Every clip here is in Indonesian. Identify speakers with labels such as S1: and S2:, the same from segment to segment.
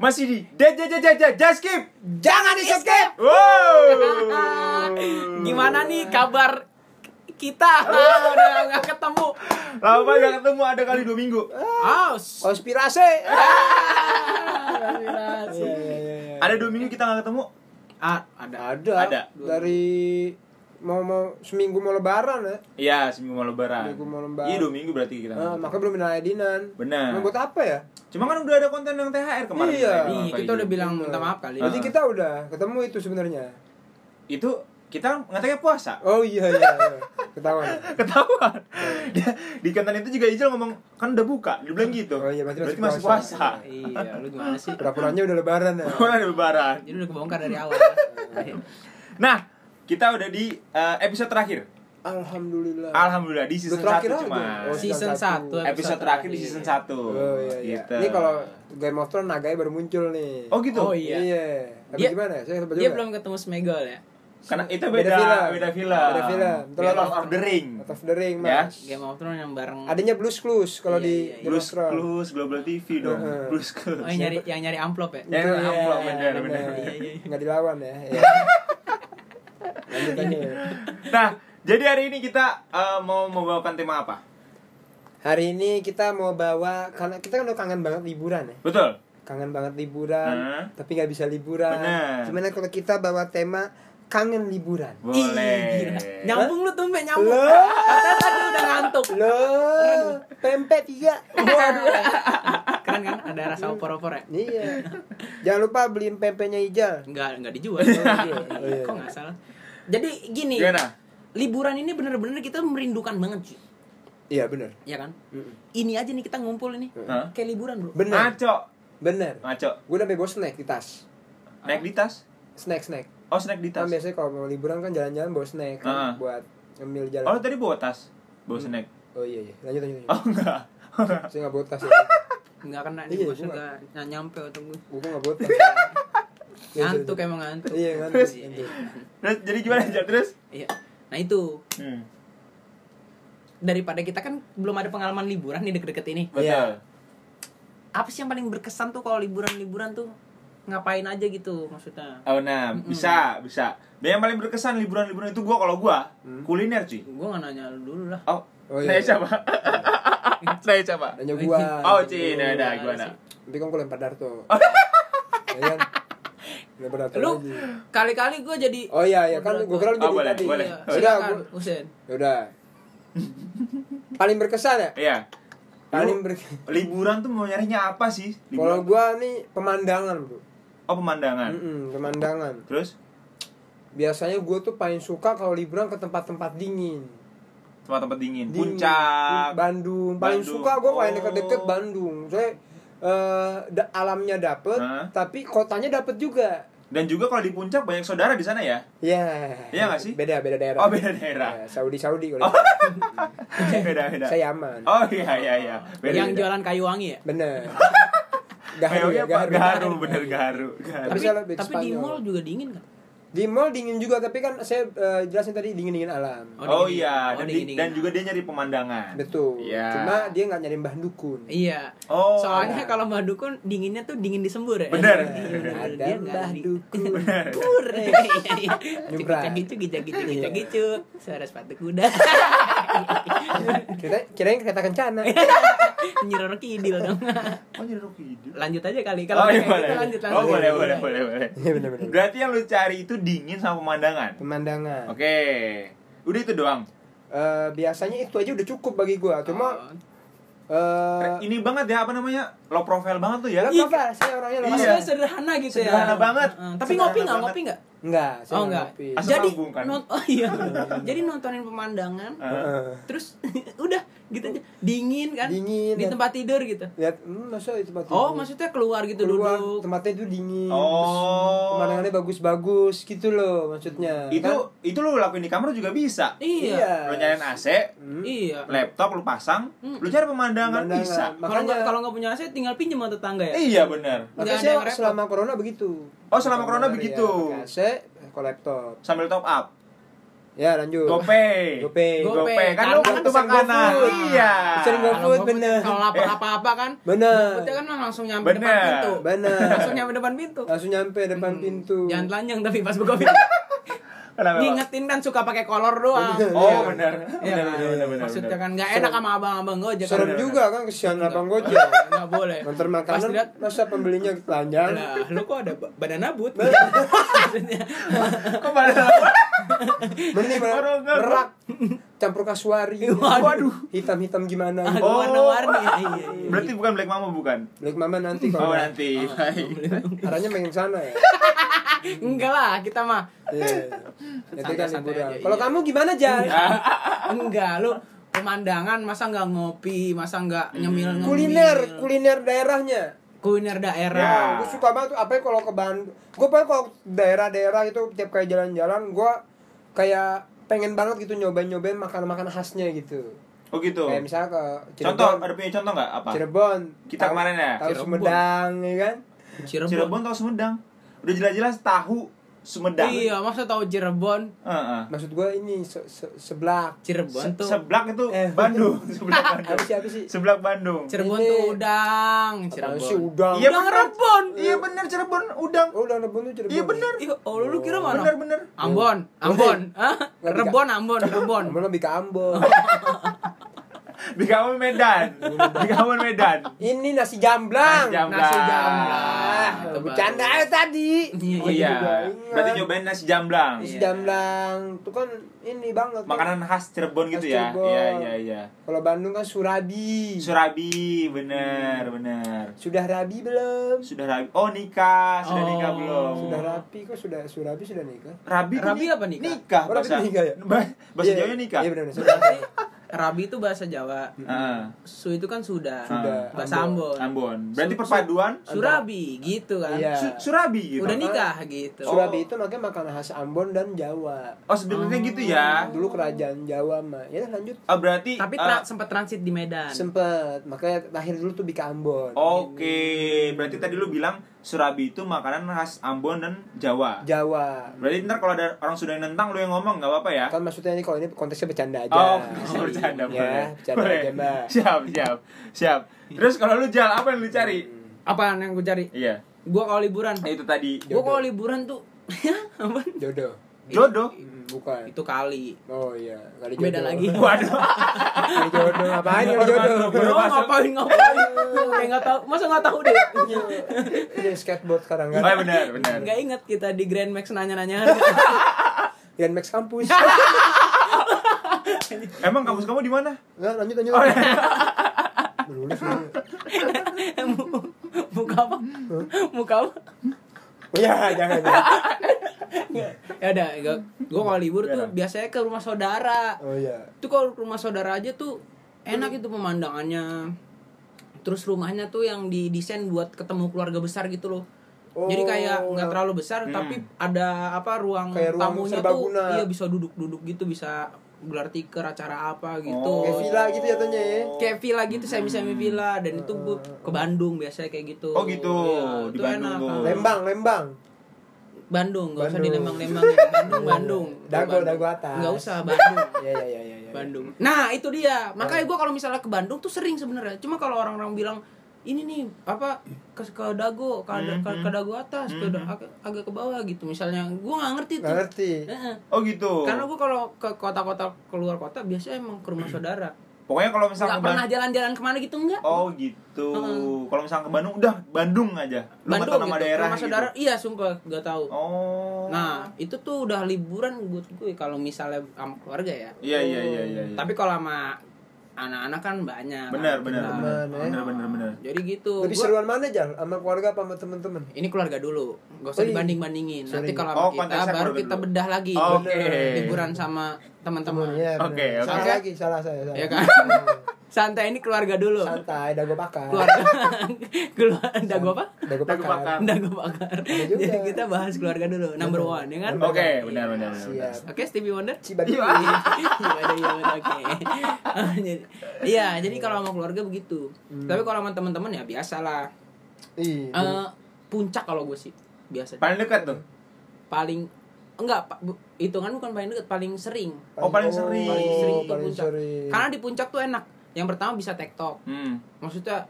S1: Masih di Jaskip.
S2: Jangan di skip.
S1: Wow.
S2: Gimana nih kabar kita? Ah, Udah nggak ketemu.
S1: Lama gak ketemu ada kali dua minggu.
S2: Aus.
S3: Konspirasi.
S2: Iya,
S1: Ada dua minggu kita gak ketemu.
S2: Ah, ada.
S3: Ada.
S1: Ada.
S3: Dari mau mau seminggu mau lebaran ya.
S1: Iya, seminggu mau lebaran.
S3: Seminggu mau lebaran.
S1: Iya, dua minggu berarti kita.
S3: Nah, makanya belum ada Dinan.
S1: Benar.
S3: Mau buat apa ya?
S1: Cuma kan udah ada konten yang THR kemarin. Nah,
S3: Iya.
S1: Tadi,
S2: Ih,
S1: Pak
S2: kita
S1: Iji.
S2: udah bilang minta maaf kali.
S3: Jadi
S1: Ah.
S3: Iya. kita udah ketemu itu sebenarnya.
S1: itu kita kan ngeteknya puasa.
S3: Oh iya iya. iya. Ketahuan.
S1: Ketahuan. Dia- di konten itu juga Ijal ngomong kan udah buka, dibilang gitu.
S3: Oh iya, berarti
S1: masih
S3: masih puasa.
S1: puasa.
S2: Iya, lu gimana sih?
S3: Pura-puranya udah lebaran ya.
S1: Orang ada lebaran.
S2: Jadi udah kebongkar dari awal.
S1: Nah, kita udah di eh, episode terakhir.
S3: Alhamdulillah.
S1: Alhamdulillah di season
S3: Udah terakhir
S1: 1
S3: aja.
S1: cuma.
S3: Oh,
S1: episode,
S2: Season
S3: satu.
S2: 1
S1: terakhir di season 1.
S3: Oh iya iya.
S1: Gitu.
S3: Ini kalau Game of Thrones naganya baru muncul nih.
S1: Oh gitu.
S2: Oh, iya.
S3: Tapi
S2: Dia-
S3: gimana? ya? Saya coba
S2: Dia
S3: juga.
S2: belum ketemu Smegol ya?
S1: Karena itu
S3: Beda
S1: beda
S3: film.
S1: beda film.
S3: Beda film. Itu
S1: Beda
S3: Lord
S1: Lord of the Ring.
S3: Out of the Ring, Mas.
S1: Ya.
S2: Game of Thrones yang bareng
S3: Adanya Blues Clues kalau
S2: Iya,
S3: di
S2: iya, iya.
S3: Game of
S1: Blues
S3: Thrones.
S1: Clues Global TV dong.
S3: Heeh.
S1: Blues Clues.
S2: Oh, yang nyari yang nyari amplop ya?
S1: Ya,
S3: Iya,
S1: amplop, bener,
S3: iya, iya,
S1: bener,
S3: bener.
S2: bener.
S3: Nggak dilawan ya. Iya. Lanjut aja.
S1: Nah, jadi hari ini kita eh, mau membawakan tema apa?
S3: Hari ini kita mau bawa karena kita kan udah kangen banget liburan ya.
S1: Betul.
S3: Kangen banget liburan,
S1: Heeh.
S3: tapi nggak bisa liburan.
S1: Bener.
S3: Gimana kalau kita bawa tema kangen liburan?
S2: Ih,
S1: Boleh.
S2: gila. Nyambung lu tuh, Mbak, nyambung.
S3: Loh.
S2: Katanya tadi udah ngantuk.
S3: Loh, pempek iya.
S2: Keren kan ada rasa opor-opor ya?
S3: iya. Jangan lupa beliin pempeknya Ijal.
S2: Enggak, enggak dijual.
S3: Oh, iya.
S2: Kok enggak salah? Jadi gini,
S1: Gimana?
S2: liburan ini bener-bener kita merindukan banget, cuy.
S3: Iya benar.
S2: Ya kan? Ini aja nih kita ngumpul ini.
S1: Hah?
S2: Kayak liburan, Bro.
S3: Benar.
S1: Ngaco.
S3: Benar.
S1: Ngaco.
S3: Gue udah bawa snack di tas.
S1: Naik di tas?
S3: Snack snack.
S1: Oh, snack di tas.
S3: Kan biasanya kalau mau liburan kan jalan-jalan bawa snack
S1: Ah.
S3: kan, buat ngemil jalan.
S1: Oh, lu tadi bawa tas. Bawa snack.
S3: Oh iya iya. Lanjut lanjut. lanjut.
S1: Oh, enggak.
S3: Saya nggak bawa tas. Ya.
S2: Enggak kena
S3: Iya,
S2: nih, bos
S3: gua
S2: enggak nyampe otak gua.
S3: Gue nggak bawa tas. Iya,
S2: Ngantuk
S3: iya,
S2: emang ngantuk.
S3: Iya kan.
S1: Terus? Terus jadi gimana, Jal? Terus?
S2: Iya. Nah, itu
S1: Hmm.
S2: daripada kita kan belum ada pengalaman liburan nih deket-deket ini.
S3: Iya.
S1: Betul.
S2: Apa sih yang paling berkesan tuh kalau liburan-liburan tuh ngapain aja gitu maksudnya?
S1: Oh, nah,
S3: Hmm.
S1: bisa, bisa. Dan yang paling berkesan liburan-liburan itu gua kalau gua kuliner, cuy.
S2: Gua nggak nanya lu dulu lah.
S1: Oh,
S3: Hmm. Oh,
S1: saya
S3: iya. Hmm. Ah,
S1: coba. saya coba.
S3: Nanya gua.
S1: Oh,
S3: iya,
S1: cuy, nah, nah,
S2: Gimana
S1: gimana?
S2: sih?
S3: Nanti kan gue lempar darto. Ya kan? Lempar darto
S2: Lu
S3: lagi.
S2: kali-kali gua jadi
S3: Oh iya iya kan gue kira
S1: Oh,
S3: lu jadi
S1: boleh,
S3: tadi.
S1: boleh.
S2: Iya,
S3: Sudah
S2: silakan,
S3: gua- Ya
S2: Usen.
S3: Udah. Paling berkesan ya?
S1: Iya.
S3: Paling berkesan.
S1: Liburan tuh mau nyarinya apa sih? Liburan.
S3: Kalau gua nih pemandangan, Bro.
S1: Oh, pemandangan.
S3: Mm-mm, pemandangan.
S1: Terus
S3: Biasanya gue tuh paling suka kalau liburan ke tempat-tempat dingin.
S1: tempat-tempat dingin,
S3: Dingin.
S1: puncak.
S3: Bandung. Paling
S1: Bandung.
S3: suka gue paling
S1: Oh.
S3: deket-deket Bandung. Saya eh, da- alamnya dapet,
S1: Hah?
S3: tapi kotanya dapet juga.
S1: Dan juga kalau di puncak banyak saudara di sana ya.
S3: Ya.
S1: Iya nggak sih?
S3: Beda beda
S1: Oh,
S3: daerah.
S1: beda daerah.
S3: Ya, Saudi Saudi kalau
S1: Oh. beda beda.
S3: saya aman.
S1: Oh iya iya iya. Beda, beda.
S2: Yang jualan kayu wangi ya?
S3: Bener.
S1: Gaharu,
S3: Gaharu ya,
S1: gaharu,
S3: gaharu.
S1: gaharu, bener gaharu, gaharu.
S3: Tapi
S2: Tapi,
S3: saya lebih ke
S2: tapi di
S3: Spanyol.
S2: mall juga dingin kan?
S3: Di mall dingin juga, tapi kan saya eh, jelasin tadi dingin-dingin alam.
S2: Oh,
S1: Oh,
S2: dingin-dingin.
S1: iya,
S2: Oh,
S1: dan, di-
S2: dingin-dingin.
S1: dan juga dia nyari pemandangan.
S3: Betul.
S1: Iya.
S3: Cuma dia nggak nyari mbah dukun.
S2: Iya.
S1: Oh.
S2: Soalnya kalau Mbah Dukun dinginnya tuh dingin di sembur ya.
S1: Bener.
S3: Iya, Ada mbah dukun.
S2: Sembur. iya,
S3: Nyebrang.
S2: Gitu gitu gitu gitu gitu. Suara sepatu kuda.
S3: Kira kirain kereta kencana.
S2: Iya, Nyeroro kidil dong.
S1: Oh jadi Rocky Hidup.
S2: Lanjut aja kali
S1: Oh,
S2: kalau
S1: iya,
S2: kayak
S1: boleh.
S2: gitu lanjut lanjut.
S1: Oh boleh boleh boleh boleh.
S3: Iya benar-benar.
S1: Berarti yang lu cari itu dingin sama pemandangan.
S3: Pemandangan.
S1: Oke. Udah itu doang.
S3: Eh, biasanya itu aja udah cukup bagi gua. Cuma
S2: Oh.
S3: eh Iya.
S1: Ini banget ya apa namanya? Low profile banget tuh ya.
S3: nggak apa-apa, saya orangnya low
S2: Maksudnya
S1: Iya.
S2: sederhana gitu ya.
S1: Sederhana banget.
S2: Heeh. Tapi
S1: Sederhana
S2: ngopi nggak
S1: banget.
S2: ngopi nggak?
S3: Enggak, saya
S2: Oh
S3: nggak
S2: enggak.
S3: ngopi.
S1: Asam
S2: Jadi
S1: lambung kan?
S2: not- oh iya. Jadi nontonin pemandangan.
S1: Heeh.
S2: Terus udah gitu aja. Dingin kan?
S3: Dingin,
S2: Di
S3: ya.
S2: tempat tidur gitu.
S3: Lihat, hmm, masa itu tempat
S2: Oh,
S3: tidur?
S2: maksudnya keluar gitu
S3: Keluar,
S2: duduk.
S3: tempatnya itu dingin. Terus
S1: Oh.
S3: Pemandangannya bagus-bagus gitu loh maksudnya.
S1: Itu
S3: Kan?
S1: itu lu lakuin di kamar juga bisa.
S2: Iya.
S1: Lu nyalain AC,
S2: Iya.
S3: Hmm.
S1: laptop lu pasang, lu cari pemandangan, bisa.
S2: Mm.
S3: Pemandangan.
S2: Kalau
S3: Makanya-
S2: nggak kalau nggak punya AC tinggal pinjam sama tetangga ya?
S1: Iya benar.
S2: Nggak ada
S3: Makanya
S2: yang repot.
S3: selama corona begitu.
S1: Oh, selama corona begitu.
S3: Ya, saya ke laptop.
S1: Sambil top up.
S3: Ya lanjut.
S1: GoPay.
S3: GoPay.
S2: Go-
S1: GoPay. Kan lu
S2: Karena
S1: butuh
S3: pesan
S1: makanan.
S3: GoFood.
S1: Iya.
S3: Pesan
S2: Kalau
S3: GoFood,
S2: GoFood
S3: bener.
S2: Kalau lapar apa-apa kan?
S3: Bener.
S2: GoFoodnya kan langsung nyampe depan
S1: Bener.
S2: pintu.
S3: Bener.
S2: Langsung nyampe depan pintu. Hmm.
S3: Langsung nyampe depan pintu.
S2: Jangan telanjang tapi pas buka pintu.
S1: Kenapa? Bang?
S2: Ngingetin kan suka pakai kolor doang.
S1: Oh, benar. Benar,
S2: Iya kan?
S1: benar, benar, benar,
S2: Maksudnya
S1: benar.
S2: kan nggak enak sama abang-abang gojek.
S3: Serem
S2: Kan?
S3: juga kan kesian abang gojek.
S2: Nggak boleh.
S3: Nganter
S2: Pas
S3: makanan
S2: lihat Nah.
S3: masa pembelinya telanjang.
S2: lah lu kok ada ba- badan nabut? Maksudnya
S1: Kok pada
S3: Mending
S1: Orang nggak-
S3: merak campur kasuari.
S2: Waduh.
S3: Hitam-hitam gimana
S2: Aduh,
S3: gitu.
S1: Oh.
S2: "Ah, warna-warni. Iya, iya, iya.
S1: Berarti bukan Black Mama bukan?
S3: Black Mama nanti
S1: Oh
S3: kalau ada.
S1: nanti. Baik.
S3: arahnya pengen sana ya.
S2: enggak lah kita mah
S3: Iya. Itu kan
S2: Santai-santai aja,
S3: liburan. Kalau
S2: iya.
S3: kamu gimana, Jal?
S2: enggak lu pemandangan masa nggak ngopi masa nggak nyemil nyemil
S3: Hmm. Kuliner, kuliner daerahnya.
S2: kuliner
S1: Ya.
S2: daerah
S3: Gue suka banget tuh, apalagi kalau ke Bandung. Gue paling kalau daerah-daerah itu tiap kayak jalan-jalan, gue kayak pengen banget gitu nyobain-nyobain makanan-makanan khasnya gitu.
S1: Oh gitu.
S3: Kayak misalnya ke
S1: Contoh,
S3: Cirebon.
S1: ada punya contoh nggak apa?
S3: Cirebon.
S1: Kita
S3: Tahu-
S1: kemarin ya?
S3: Tahu
S2: Cirebon.
S3: Sumedang ya kan?
S2: Cirebon,
S1: Cirebon atau Sumedang? Udah jelas-jelas tahu Sumedang.
S2: iya masa tahu Cirebon
S1: Heeh.
S3: Maksud gue ini se -se seblak.
S2: Cirebon tuh
S1: Seblak itu
S3: Eh.
S1: Bandung. Seblak
S3: Apa
S1: Bandung.
S3: sih apa sih?
S1: Seblak Bandung.
S2: Cirebon
S3: Ini-
S2: tuh udang
S3: Apaan
S2: Cirebon
S3: sih udang.
S1: Iya,
S2: udang
S1: bener.
S2: Rebon
S1: Iya bener Cirebon udang.
S3: Oh, udang rebun tuh Cirebon.
S1: Iya bener.
S2: Iya, oh lu kira mana
S1: Bener bener.
S2: Ambon Ambon Hah?
S3: Nggak bisa.
S2: Rebon Ambon Rebon
S3: Kamu lebih ke Ambon.
S1: Di Kabupaten Medan. Di Kabupaten Medan.
S3: ini nasi jamblang.
S1: Nasi jamblang.
S2: nasi
S1: Ah,
S2: jamblang
S3: Ah,
S2: Itu baru.
S3: Nah, bercanda aja tadi.
S2: Iya,
S1: Oh,
S3: Gua
S1: iya.
S3: juga ingat.
S1: Berarti nyobain nasi jamblang.
S3: Nasi
S2: Iya.
S3: jamblang itu kan ini banget. kan.
S1: Makanan khas Cirebon gitu
S3: Khas
S1: ya.
S3: Cirebon.
S1: Iya iya iya.
S3: Kalau Bandung kan surabi.
S1: Surabi, bener
S3: Hmm.
S1: bener.
S3: sudah rabi belum?
S1: Sudah rabi. Oh nikah, sudah
S2: Oh.
S1: nikah belum?
S3: Sudah rapi kok sudah surabi sudah nikah.
S1: Rabi, tuh
S2: Rabi
S1: ni-
S2: apa nikah?
S1: Nikah.
S3: Oh, rabi
S1: bahasa
S3: tuh nikah ya?
S1: Ba- bahasa
S3: Iya,
S1: Jawanya nikah.
S3: Iya benar benar. Sudah.
S2: Rabi itu bahasa Jawa
S1: Heeh.
S2: Su itu kan sudah
S1: Sudah.
S2: bahasa
S3: Ambon.
S2: Ambon
S1: Ah, Ambon. Berarti
S2: Su- su-
S1: perpaduan
S2: Surabi gitu kan
S3: Iya.
S1: Su- Surabi gitu.
S2: udah nikah gitu
S3: Surabi itu makanya makanan khas Ambon dan Jawa.
S1: Oh sebenarnya gitu ya.
S3: Hmm. Dulu kerajaan Jawa mah. Ya lanjut.
S1: Oh, berarti
S2: tapi
S1: eh,
S2: tra- sempat transit di Medan
S3: Sempet makanya lahir dulu tuh Bika Ambon.
S1: Oke, berarti tadi lu bilang Surabi itu makanan khas Ambon dan Jawa.
S3: Jawa.
S1: Berarti ntar kalau ada orang Sunda yang nentang lu yang ngomong nggak apa-apa ya?
S3: Kan maksudnya ini kalau ini konteksnya bercanda aja.
S1: Oh,
S2: iya.
S1: bercanda
S3: Ya,
S1: boleh.
S3: bercanda
S1: Boleh.
S3: aja, Mbak.
S1: Siap, siap, siap. Terus kalau lu jalan apa yang lu cari?
S3: Hmm,
S2: apaan yang gue cari
S1: Iya,
S2: gue kalau liburan
S1: ya, itu tadi
S2: gue kalau liburan tuh ya, apaan?
S3: Jodoh.
S1: jodoh.
S3: Hmm, Bukan.
S2: itu kali
S3: Oh iya, kali jodoh.
S2: beda lagi
S1: Waduh,
S3: Kali jodoh ngapain kali jodoh?
S2: Bro, ngapain ngapain kayak nggak tahu masa nggak tahu deh
S3: Ini skateboard
S1: oh,
S3: sekarang
S1: ya,
S3: kan.
S1: benar, benar.
S2: nggak inget kita di Grand Max nanya-nanya
S3: Grand Max kampus.
S1: Emang kampus kamu di mana?
S3: Nah, lanjut lanjut.
S1: Oh,
S3: Oh,
S1: iya.
S3: Lulus nih.
S2: Eh, muka apa muka apa
S3: Oh, Ya, jangan. jangan.
S2: ya udah gue kalau libur tuh biasanya ke rumah saudara
S3: Oh iya.
S2: itu kalau rumah saudara aja tuh
S3: Hmm.
S2: enak itu pemandangannya terus rumahnya tuh yang didesain buat ketemu keluarga besar gitu loh jadi kayak
S3: Oh,
S2: nggak terlalu besar
S1: Hmm.
S2: tapi ada apa ruang
S3: Kayak ruang
S2: tamunya
S3: serbaguna.
S2: tuh iya bisa duduk-duduk gitu bisa gelar tiker acara apa gitu
S1: Oh.
S3: Kayak villa gitu jatuhnya ya.
S2: kayak villa gitu semi semi villa dan itu
S3: Eh,
S2: gua ke Bandung biasanya kayak gitu
S1: Oh, gitu. Di
S2: itu
S1: Bandung
S2: enak.
S1: tuh.
S3: Lembang, Lembang.
S2: Bandung nggak usah
S3: Bandung.
S2: di lembang lembang Bandung Bandung
S3: Dago,
S2: Bandung.
S3: Dago atas.
S2: nggak usah Bandung
S3: Ya ya ya ya ya.
S2: Bandung. Nah itu dia.
S1: Oh.
S2: Makanya gue kalau misalnya ke Bandung tuh sering sebenarnya. Cuma kalau orang-orang bilang ini nih apa ke, ke Dago, ke, ke,
S1: Mm-hmm.
S2: ke Dago atas, ke da- ag- agak ke bawah gitu. Misalnya gue nggak ngerti tuh.
S3: Nggak ngerti.
S2: Heeh.
S1: Oh gitu.
S2: Karena gue kalau ke kota-kota keluar kota biasanya emang ke rumah saudara.
S1: Pokoknya kalau misalnya
S2: Nggak
S1: ke
S2: pernah
S1: Bandung,
S2: jalan-jalan kemana gitu enggak?
S1: oh gitu.
S2: Heeh.
S1: Kalau misalnya ke Bandung, udah Bandung aja. Lu nggak tahu
S2: Bandung
S1: nama
S2: gitu,
S1: daerah
S2: ke rumah
S1: gitu.
S2: saudara. Iya sumpah gak tahu.
S1: Oh.
S2: Nah itu tuh udah liburan gue gue kalau misalnya sama keluarga ya.
S1: Iya iya iya iya. iya.
S2: Tapi kalau sama anak-anak kan banyak.
S1: benar
S2: Kita-
S1: benar benar
S3: Benar, ya.
S1: benar benar benar.
S2: Jadi gitu.
S3: Lebih
S2: Gua-
S3: seruan mana, Jal? Sama keluarga apa sama teman-teman?
S2: ini keluarga dulu, gak usah
S3: Oh, iya.
S2: dibanding-bandingin. Nanti
S3: Sorry.
S2: kalau
S1: Oh,
S2: sama kita
S1: konteksnya
S2: baru
S1: keluarga
S2: kita
S1: dulu.
S2: bedah lagi
S1: Oke.
S2: liburan sama teman-teman.
S3: Iya, benar.
S1: Oke, oke.
S3: Salah
S2: Oke.
S3: lagi, salah saya, salah.
S2: Ya kan?
S3: Hmm.
S2: santai ini keluarga dulu
S3: santai dago pakar
S2: keluarga keluar dago apa
S3: dago
S1: Dago pakar.
S3: pakar
S2: dago bakar
S3: Ada juga.
S2: jadi kita bahas keluarga dulu number one ya kan
S1: Oke, benar benar benar.
S3: siap
S2: oke Stevie Wonder
S3: Cibadu
S2: Iya. Gimana, gimana, oke. Jadi- Iya, jadi kalau sama keluarga begitu.
S3: Hmm.
S2: Tapi kalau sama teman-teman ya biasa lah.
S3: Ih,
S2: Eh, puncak kalau gue sih biasa.
S1: Paling dekat tuh.
S2: Paling enggak pa- bu- hitungan bukan paling deket, paling sering.
S1: Oh, paling sering.
S2: Paling sering itu
S3: paling
S2: puncak.
S3: sering.
S2: Karena di puncak tuh enak. Yang pertama bisa tektok.
S1: Hmm.
S2: Maksudnya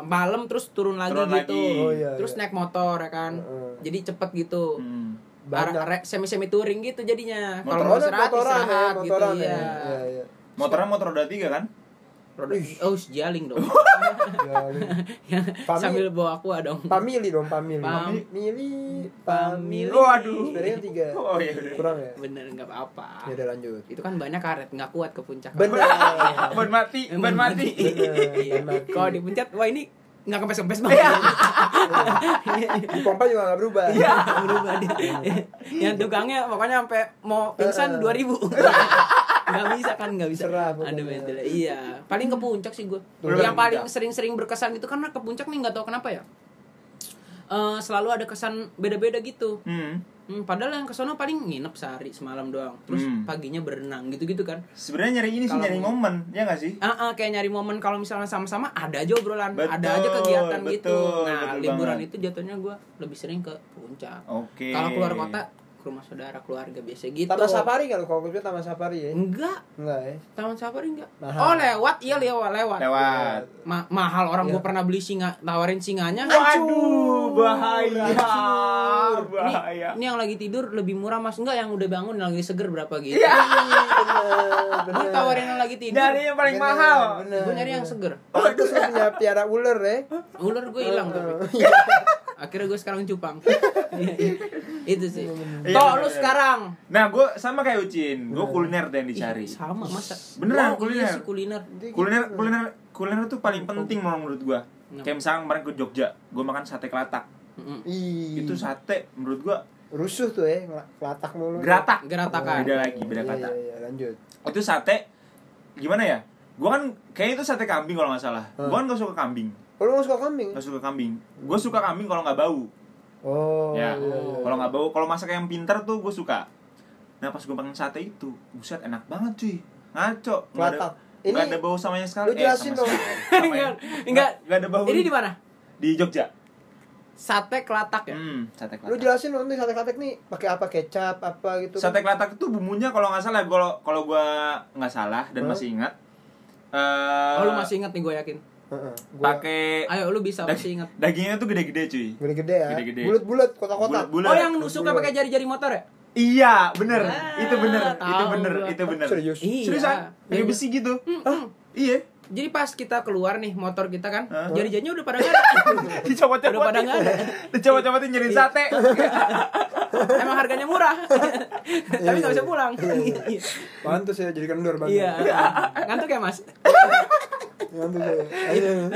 S2: malam terus turun lagi
S1: Turun
S2: gitu.
S1: lagi.
S3: Oh, iya,
S2: terus
S3: iya. Hmm.
S2: naik motor ya kan.
S3: Heeh.
S2: Jadi cepet gitu.
S1: Hmm.
S3: Banyak.
S2: semi semi touring gitu jadinya. Kalau
S1: Motor-
S2: mau
S3: Motoran,
S2: istirahat,
S3: motoran ya,
S2: istirahat gitu
S3: motoran ya.
S2: iya.
S3: Iya, iya.
S1: Motornya motor roda tiga kan?
S2: Roda- Oh, jaling dong.
S3: Jalan. Pamili.
S2: Sambil bawa aku dong.
S3: Pamili dong, pamili.
S2: Pam-
S3: Pamili,
S2: Pamili.
S3: pamili.
S1: Waduh.
S3: Sebenarnya tiga.
S1: Oh iya. iya.
S3: Kurang ya?
S2: Bener nggak apa-apa.
S3: Ya udah lanjut.
S2: Itu kan banyak karet, nggak kuat ke puncak.
S3: Benar.
S1: Ah, Ban mati, ban mati.
S2: Iya.
S3: Benar.
S2: Kalau dipencet, wah ini nggak Iya. kempes-kempes banget.
S3: Di pompa juga nggak berubah.
S2: Iya. Berubah dia. Yang tukangnya pokoknya sampai mau pingsan
S3: Eh.
S2: 2000. Nggak bisa kan, nggak bisa.
S3: Serah
S2: Ada
S3: pokoknya.
S2: mental. Iya. Paling ke puncak sih gue.
S1: Belum
S2: Yang
S1: ke
S2: paling
S1: puncak.
S2: sering-sering berkesan gitu karena ke puncak nih nggak tahu kenapa ya. Eh, selalu ada kesan beda-beda gitu.
S1: Hmm.
S2: Hmm, padahal yang ke sono paling nginep sehari semalam doang. Terus
S1: Hmm.
S2: paginya berenang gitu-gitu kan.
S1: Sebenarnya nyari ini sih
S2: Kalau-
S1: nyari momen, ya nggak sih?
S2: Ah, ah, kayak nyari momen kalau misalnya sama-sama ada aja obrolan,
S1: Betul,
S2: ada aja kegiatan
S1: betul,
S2: gitu. Nah,
S1: betul
S2: liburan
S1: banget.
S2: itu jatuhnya gue lebih sering ke puncak.
S1: Oke.
S2: Kalau keluar kota ke rumah saudara keluarga biasa gitu.
S3: Taman Safari kan kalau gue Taman Safari ya.
S2: Enggak,
S3: Enggak ya.
S2: Taman Safari enggak.
S3: Mahal.
S2: Oh, lewat, iya lewat, lewat.
S1: lewat.
S2: Ma- mahal orang
S3: Iya.
S2: gue pernah beli singa, tawarin singanya.
S1: Waduh, bahaya.
S3: Hancur.
S2: Ini,
S1: Bahaya.
S2: ini yang lagi tidur lebih murah mas enggak yang udah bangun yang lagi seger berapa gitu.
S3: Benar,
S2: Gua
S3: benar.
S2: tawarin yang lagi tidur.
S1: Iya. Nyari yang paling
S3: Benar,
S1: mahal.
S3: benar,
S2: Gue nyari yang
S3: benar.
S2: seger.
S3: Pantes lu punya piara ular ya.
S2: Ular gue hilang tapi.
S1: Oh, iya.
S2: Akhirnya gue sekarang cupang. Iya, iya. Itu sih.
S1: Iya,
S2: Toh
S1: bener,
S2: lu
S1: bener.
S2: sekarang.
S1: Nah, gue sama kayak Ucin, gue kuliner deh yang dicari.
S2: Ih, sama masa.
S1: Beneran,
S2: Wow,
S1: kuliner.
S2: Iya sih kuliner.
S3: gitu.
S1: Kuliner,
S2: gitu.
S1: kuliner, kuliner tuh paling penting menurut gue. Kayak misalnya kemarin ke Jogja, gue makan sate kelatak.
S2: Mm-mm.
S3: Ih,
S1: Itu sate menurut gue
S3: rusuh tuh ya, ngel- kelatak mulu.
S1: geratak.
S2: Geratakan.
S1: Beda lagi, beda
S3: Iya,
S1: kata.
S3: Iya, iya, lanjut.
S1: Itu sate gimana ya? Gue kan kayaknya itu sate kambing kalau nggak salah.
S3: Hmm.
S1: Gue kan gak suka kambing,
S3: Oh, lu nggak suka kambing?
S1: gak suka kambing. Gue suka kambing kalau nggak bau.
S3: Oh,
S1: ya
S3: iya, iya.
S1: kalau nggak bau kalau masak yang pintar tuh gue suka nah pas gue makan sate itu buset enak banget cuy ngaco nggak ada
S3: Kelatak.
S1: nggak
S3: Ini
S1: ada bau sama yang sekali
S3: lu jelasin
S1: sama
S3: dong.
S1: sekali. Sama
S2: Enggak,
S1: yang-
S2: enggak.
S1: nggak ada bau
S2: Ini di mana?
S1: di Jogja
S2: Sate kelatak ya.
S1: hmm, sate
S3: lu
S1: kelatak
S3: jelasin dong nanti sate kelatak nih pakai apa kecap apa gitu.
S1: sate kelatak itu bumbunya kalau nggak salah kalau kalau gue nggak salah dan
S3: Hmm.
S1: masih ingat
S2: Oh,
S1: eh
S2: lu masih ingat nih gue yakin.
S3: Heeh, gua-
S1: pakai
S2: Ayo lu bisa
S1: dag-
S2: masih ingat.
S1: dagingnya tuh gede-gede cuy
S3: gede-gede ya.
S1: Gede-gede.
S3: Bulat-bulat, kotak-kotak.
S1: Bulat-bulat.
S2: Oh, yang
S3: Bulat.
S2: nusuknya pakai jari-jari motor ya?
S1: iya bener
S2: Ah,
S1: itu bener itu
S2: tahu
S1: bener
S2: gua.
S1: itu ya bener
S3: Serius?
S2: Iya.
S1: seriusan pakai
S2: Iya.
S1: ah? besi gitu
S2: Mm-mm.
S1: iya
S2: Jadi pas kita keluar nih motor kita kan,
S1: Hah?
S2: jari-jarinya udah pada nggak ada.
S1: dicopot-copotin
S2: Udah pada nggak ada. Iya.
S1: dicopot-copotin jadi sate
S2: Emang harganya murah.
S1: iya.
S2: Tapi nggak bisa pulang. Iya.
S3: Pantes ya jadi kendor banget.
S2: Iya. Ngantuk ya, Mas?
S3: Ngantuk ya. Ayo.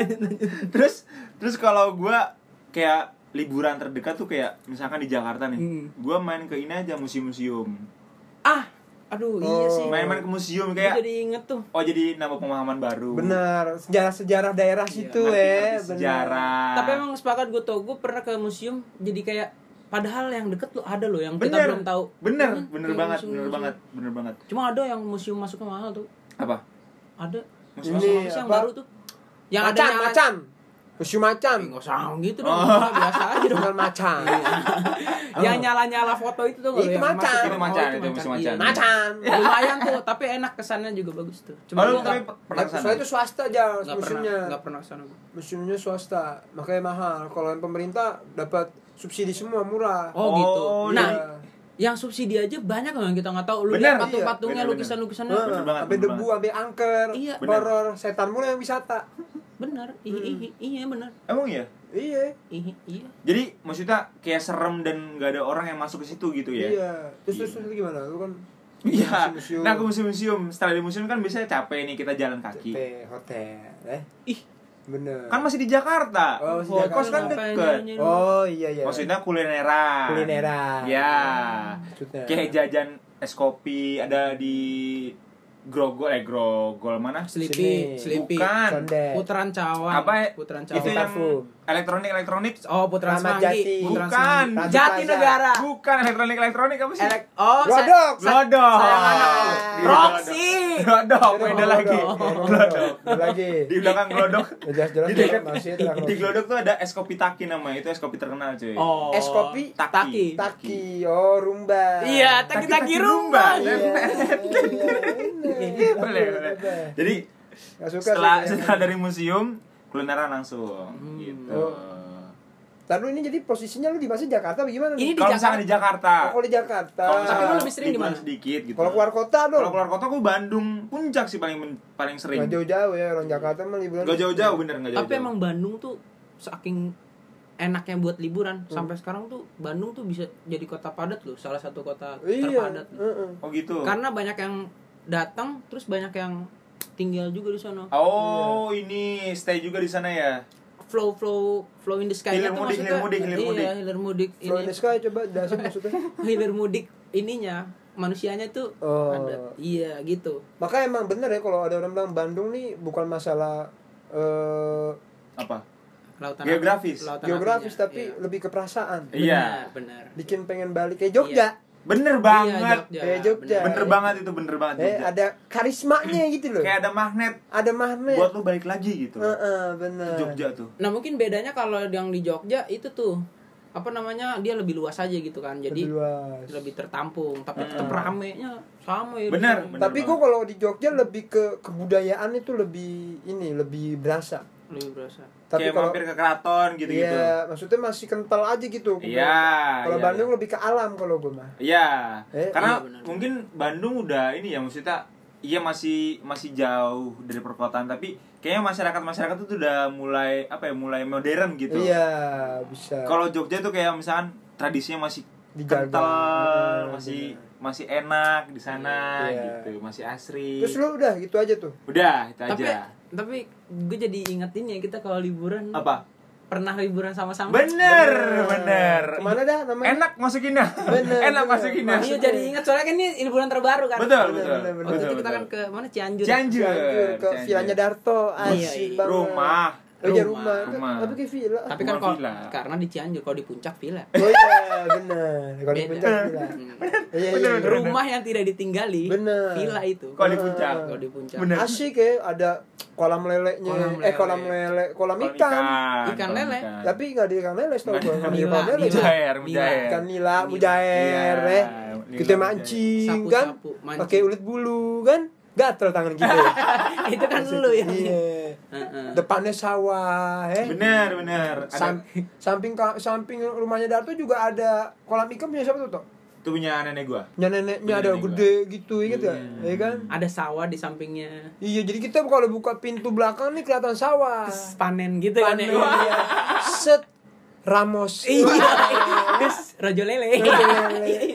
S1: terus terus kalau gua kayak liburan terdekat tuh kayak misalkan di Jakarta nih
S2: Hmm.
S1: gua main ke ini aja museum-museum
S2: Ah, aduh iya
S3: Oh.
S2: sih.
S1: main-main ke museum
S2: Gua
S1: kayak
S2: jadi inget tuh.
S1: oh jadi nambah pengalaman baru
S3: Benar, sejarah-sejarah daerah situ
S1: Ngerti-ngerti
S3: ya, benar.
S1: Iya, sejarah
S2: eh, Tapi emang sepakat gue tau, gue pernah ke museum jadi kayak padahal yang deket lo ada loh yang kita
S1: bener
S2: belum tahu.
S1: bener
S2: Hmm,
S1: bener
S2: kayak
S1: banget
S2: museum-
S1: bener
S2: museum.
S1: banget bener banget
S2: Cuma ada yang museum masuknya mahal tuh.
S1: apa
S2: Ada.
S1: Museum
S2: Museum
S3: apa?
S2: yang baru tuh. Yang ada
S3: macan,
S2: yang
S3: macan. Museum macan.
S2: Enggak usah gitu dong,
S1: Oh.
S2: Nggak, biasa aja dong.
S3: Bukan macan.
S1: Iya.
S2: yang nyala-nyala foto itu tuh nggak
S3: Itu
S2: yang
S3: macan.
S2: masuk-
S1: Itu
S2: oh,
S1: macan, itu museum
S2: Iya.
S1: macan.
S3: Macan.
S2: Lumayan tuh, tapi enak kesannya juga bagus tuh. Cuma Ya,
S1: Baru
S2: gue nggak
S1: tapi pernah kesana? ya?
S3: Soalnya itu swasta aja
S2: nggak pernah
S3: museumnya.
S2: nggak pernah kesana gue.
S3: Museumnya swasta, makanya mahal. Kalau yang pemerintah dapat subsidi semua murah.
S2: Oh, gitu.
S1: Oh,
S2: Nah,
S1: iya.
S2: yang subsidi aja banyak loh yang kita nggak tahu. Lu
S1: Bener,
S2: lihat patung-patungnya,
S1: iya. Bener,
S2: lukisan-lukisannya.
S1: bener. Bener banget,
S3: Sampai
S1: bener
S3: debu, sampai angker,
S2: Iya.
S1: Bener.
S3: horor, setan mulu yang wisata.
S2: Bener, iya,
S1: Hmm.
S2: iya, iya bener.
S1: emang iya
S3: Iya.
S2: Iya, iya.
S1: jadi maksudnya kayak serem dan nggak ada orang yang masuk ke situ gitu ya
S3: Iya. Terus terus, terus gimana? Lu kan
S1: Iya,
S3: museum-museum.
S1: nah ke museum-museum Setelah di museum kan biasanya capek nih kita jalan kaki
S3: Pe- hotel, eh.
S2: Ih,
S3: Bener.
S1: Kan masih di Jakarta.
S3: Oh, masih di
S1: Oh,
S3: Jakarta.
S1: kos kan
S2: Ngapain
S1: deket.
S2: nyanyi lu?
S3: Oh iya iya.
S1: Maksudnya kulineran.
S3: Kulineran.
S1: Ya.
S3: Maksudnya.
S1: Kayak jajan es kopi ada di grogol eh grogol mana
S2: Sleepy,
S3: Sini.
S2: Sleepy.
S1: Bukan.
S3: Condet.
S2: Putaran cawan.
S1: apa ya?
S2: Putaran cawan.
S1: itu yang
S3: Tafu.
S1: elektronik elektronik
S2: Oh, Putaran
S3: Rahmat Jati.
S2: Semanggi. Putaran
S1: Bukan.
S2: Semanggi.
S3: Ratu
S2: Jati
S3: Plaza.
S2: Negara.
S1: bukan elektronik elektronik apa sih
S2: Elek oh, saya-
S3: Glodok.
S2: saya-
S1: Glodok.
S2: sayang anak.
S1: Di
S2: Roxy.
S1: glodok beda lagi glodok
S3: Ada lagi.
S1: di belakang glodok
S3: Ya, Jelas-jelas
S1: Di
S3: dia
S1: dekat-
S3: masih
S1: di glodok tuh ada es kopi taki namanya itu es kopi terkenal cuy
S2: Oh.
S3: Es kopi.
S2: Taki.
S3: Taki, oh rumba.
S2: Iya,
S3: Iya,
S2: taki-taki rumba. Iya.
S1: Taki-taki rumba. boleh boleh jadi
S3: Gak iya. suka
S1: setelah
S3: sih.
S1: setelah dari museum kulineran langsung
S3: Hmm.
S1: gitu
S3: Oh. Lalu ini jadi posisinya lu di masa Jakarta apa gimana?
S2: Ini
S3: nih?
S2: di
S1: kalau misalnya di Jakarta
S3: Oh, kalau di Jakarta.
S1: kalau
S2: Tapi
S1: misalnya
S2: lu lebih sering di mana?
S1: sedikit gitu
S3: Kalau keluar kota dong.
S1: kalau keluar kota gue Bandung puncak sih paling men- paling sering
S3: Gak jauh-jauh ya orang Jakarta mah liburan.
S1: Gak jauh-jauh bener gak jauh-jauh
S2: Tapi emang Bandung tuh saking enaknya buat liburan
S1: Hmm.
S2: sampai sekarang tuh Bandung tuh bisa jadi kota padat loh, salah satu kota
S3: Iya.
S2: terpadat. loh.
S3: heeh.
S1: Oh gitu
S2: Karena banyak yang datang, terus banyak yang tinggal juga di sana.
S1: Oh
S3: Iya.
S1: ini stay juga di sana ya
S2: Flow flow flow in the sky
S1: Hilir mudik,
S2: tuh maksudnya-
S1: hilir mudik, hilir
S2: iya,
S1: mudik.
S2: hilir mudik ini.
S3: Flow in the sky coba dasar maksudnya.
S2: hilir mudik ininya manusianya tuh
S3: Oh.
S2: ada. Iya, gitu.
S3: Maka emang bener ya kalau ada orang bilang Bandung nih bukan masalah eh,
S1: Apa?
S2: Lautan
S1: Geografis.
S2: lautan
S3: geografis
S2: apinya,
S3: tapi
S2: iya.
S3: lebih ke perasaan.
S1: Iya.
S2: Benar, benar.
S3: Bikin pengen balik kayak Jogja.
S1: Bener
S2: Iya,
S1: banget
S2: Jogja,
S3: Kayak Jogja.
S2: benar.
S1: Bener banget itu bener banget
S3: Eh
S1: Iya, Jogja.
S3: ada karismanya gitu loh.
S1: Kayak ada magnet
S3: Ada magnet.
S1: Buat lu balik lagi gitu
S3: Heeh, bener.
S1: Jogja tuh
S2: Nah mungkin bedanya kalau yang di Jogja itu tuh apa namanya dia lebih luas aja gitu kan jadi
S3: Lebih
S2: lebih,
S3: luas.
S2: tertampung tapi tetap
S1: Hmm.
S2: ramenya sama ya.
S1: Bener,
S2: Di sana.
S1: bener.
S3: Tapi gua kalau di Jogja lebih ke kebudayaan itu lebih ini lebih berasa.
S2: Lebih berasa.
S3: Tapi
S1: Kayak
S3: kalau
S1: mampir ke keraton gitu-gitu
S3: Iya, maksudnya masih kental aja gitu.
S1: Iya,
S3: Kalau
S1: iya,
S3: Bandung lebih ke alam kalau gue mah.
S1: Iya
S3: Eh,
S1: Karena
S2: iya, bener.
S1: mungkin Bandung udah ini ya maksudnya Iya masih masih jauh dari perkotaan tapi kayaknya masyarakat-masyarakat itu udah mulai apa ya mulai modern gitu.
S3: Iya, bisa.
S1: Kalau Jogja tuh kayak misalkan tradisinya masih
S3: Dijaga.
S1: kental,
S3: Iya,
S1: masih masih enak di sana
S3: Iya.
S1: gitu, masih asri.
S3: Terus lu udah gitu aja tuh.
S1: Udah, itu
S2: Tapi
S1: aja.
S2: tapi gue jadi ingetin ya kita kalau liburan
S1: Apa?
S2: pernah liburan sama-sama.
S1: Bener, bener.
S3: Kemana dah namanya?
S1: Enak masukinnya.
S3: Bener,
S1: enak
S3: bener.
S1: masukinnya.
S2: Iya jadi ingat soalnya kan ini liburan terbaru kan.
S1: Betul,
S3: Bener,
S1: betul.
S3: bener, bener.
S2: Waktu
S1: betul,
S2: itu kita
S1: betul.
S2: kan ke mana Cianjur.
S1: Cianjur.
S3: Cianjur ke
S1: Cianjur.
S3: vilanya Darto,
S2: Iya,
S3: asik
S2: iya.
S3: banget.
S1: Rumah.
S3: Oh iya,
S2: Rumah.
S3: rumah.
S1: Rumah.
S3: Tapi kayak villa.
S2: Tapi kan
S1: Rumah
S2: kalau
S1: villa.
S2: karena di Cianjur kalau di puncak villa.
S3: Oh iya, bener. Kalau di
S2: Beda. Hmm.
S3: puncak villa. Iya, iya,
S1: Bener,
S3: iya.
S1: bener.
S2: Rumah yang tidak ditinggali.
S3: Bener.
S2: Villa itu.
S1: Kalau di puncak.
S2: Kalau di puncak.
S1: Bener.
S3: Asik ya, ada kolam leleknya.
S2: Kolam
S3: Eh, kolam lele, kolam
S1: Kolam
S3: ikan.
S2: Ikan lele.
S3: Tapi nggak ada ikan lele setahu gue. Nggak ada
S2: Nila,
S3: ikan lele.
S2: Nila,
S3: cuy.
S1: Mujair,
S2: Nila.
S1: mujair.
S3: Ikan nila, mujair,
S1: Iya,
S3: eh.
S1: nila,
S3: Kita
S1: mujair.
S3: mancing kan.
S2: Sapu-sapu, mancing.
S3: Pakai ulit bulu kan. Gatel tangan kita. ya.
S2: itu kan lu ya.
S3: Iya.
S2: Heeh.
S3: Depannya sawah, eh.
S1: Bener, bener. Ada
S3: Sam- samping ka- samping rumahnya Darto juga ada kolam ikan punya siapa tuh, Tok?
S1: itu punya nenek gua.
S3: Punya neneknya
S1: Punya
S3: ada
S1: nenek
S3: gede gitu, inget gak? Iya kan?
S2: Ada sawah di sampingnya.
S3: Iya, jadi kita kalau buka pintu belakang nih kelihatan sawah.
S2: Terus panen gitu kan ya.
S3: Panen, iya. Set Ramos.
S2: Iya. Terus rojo lele.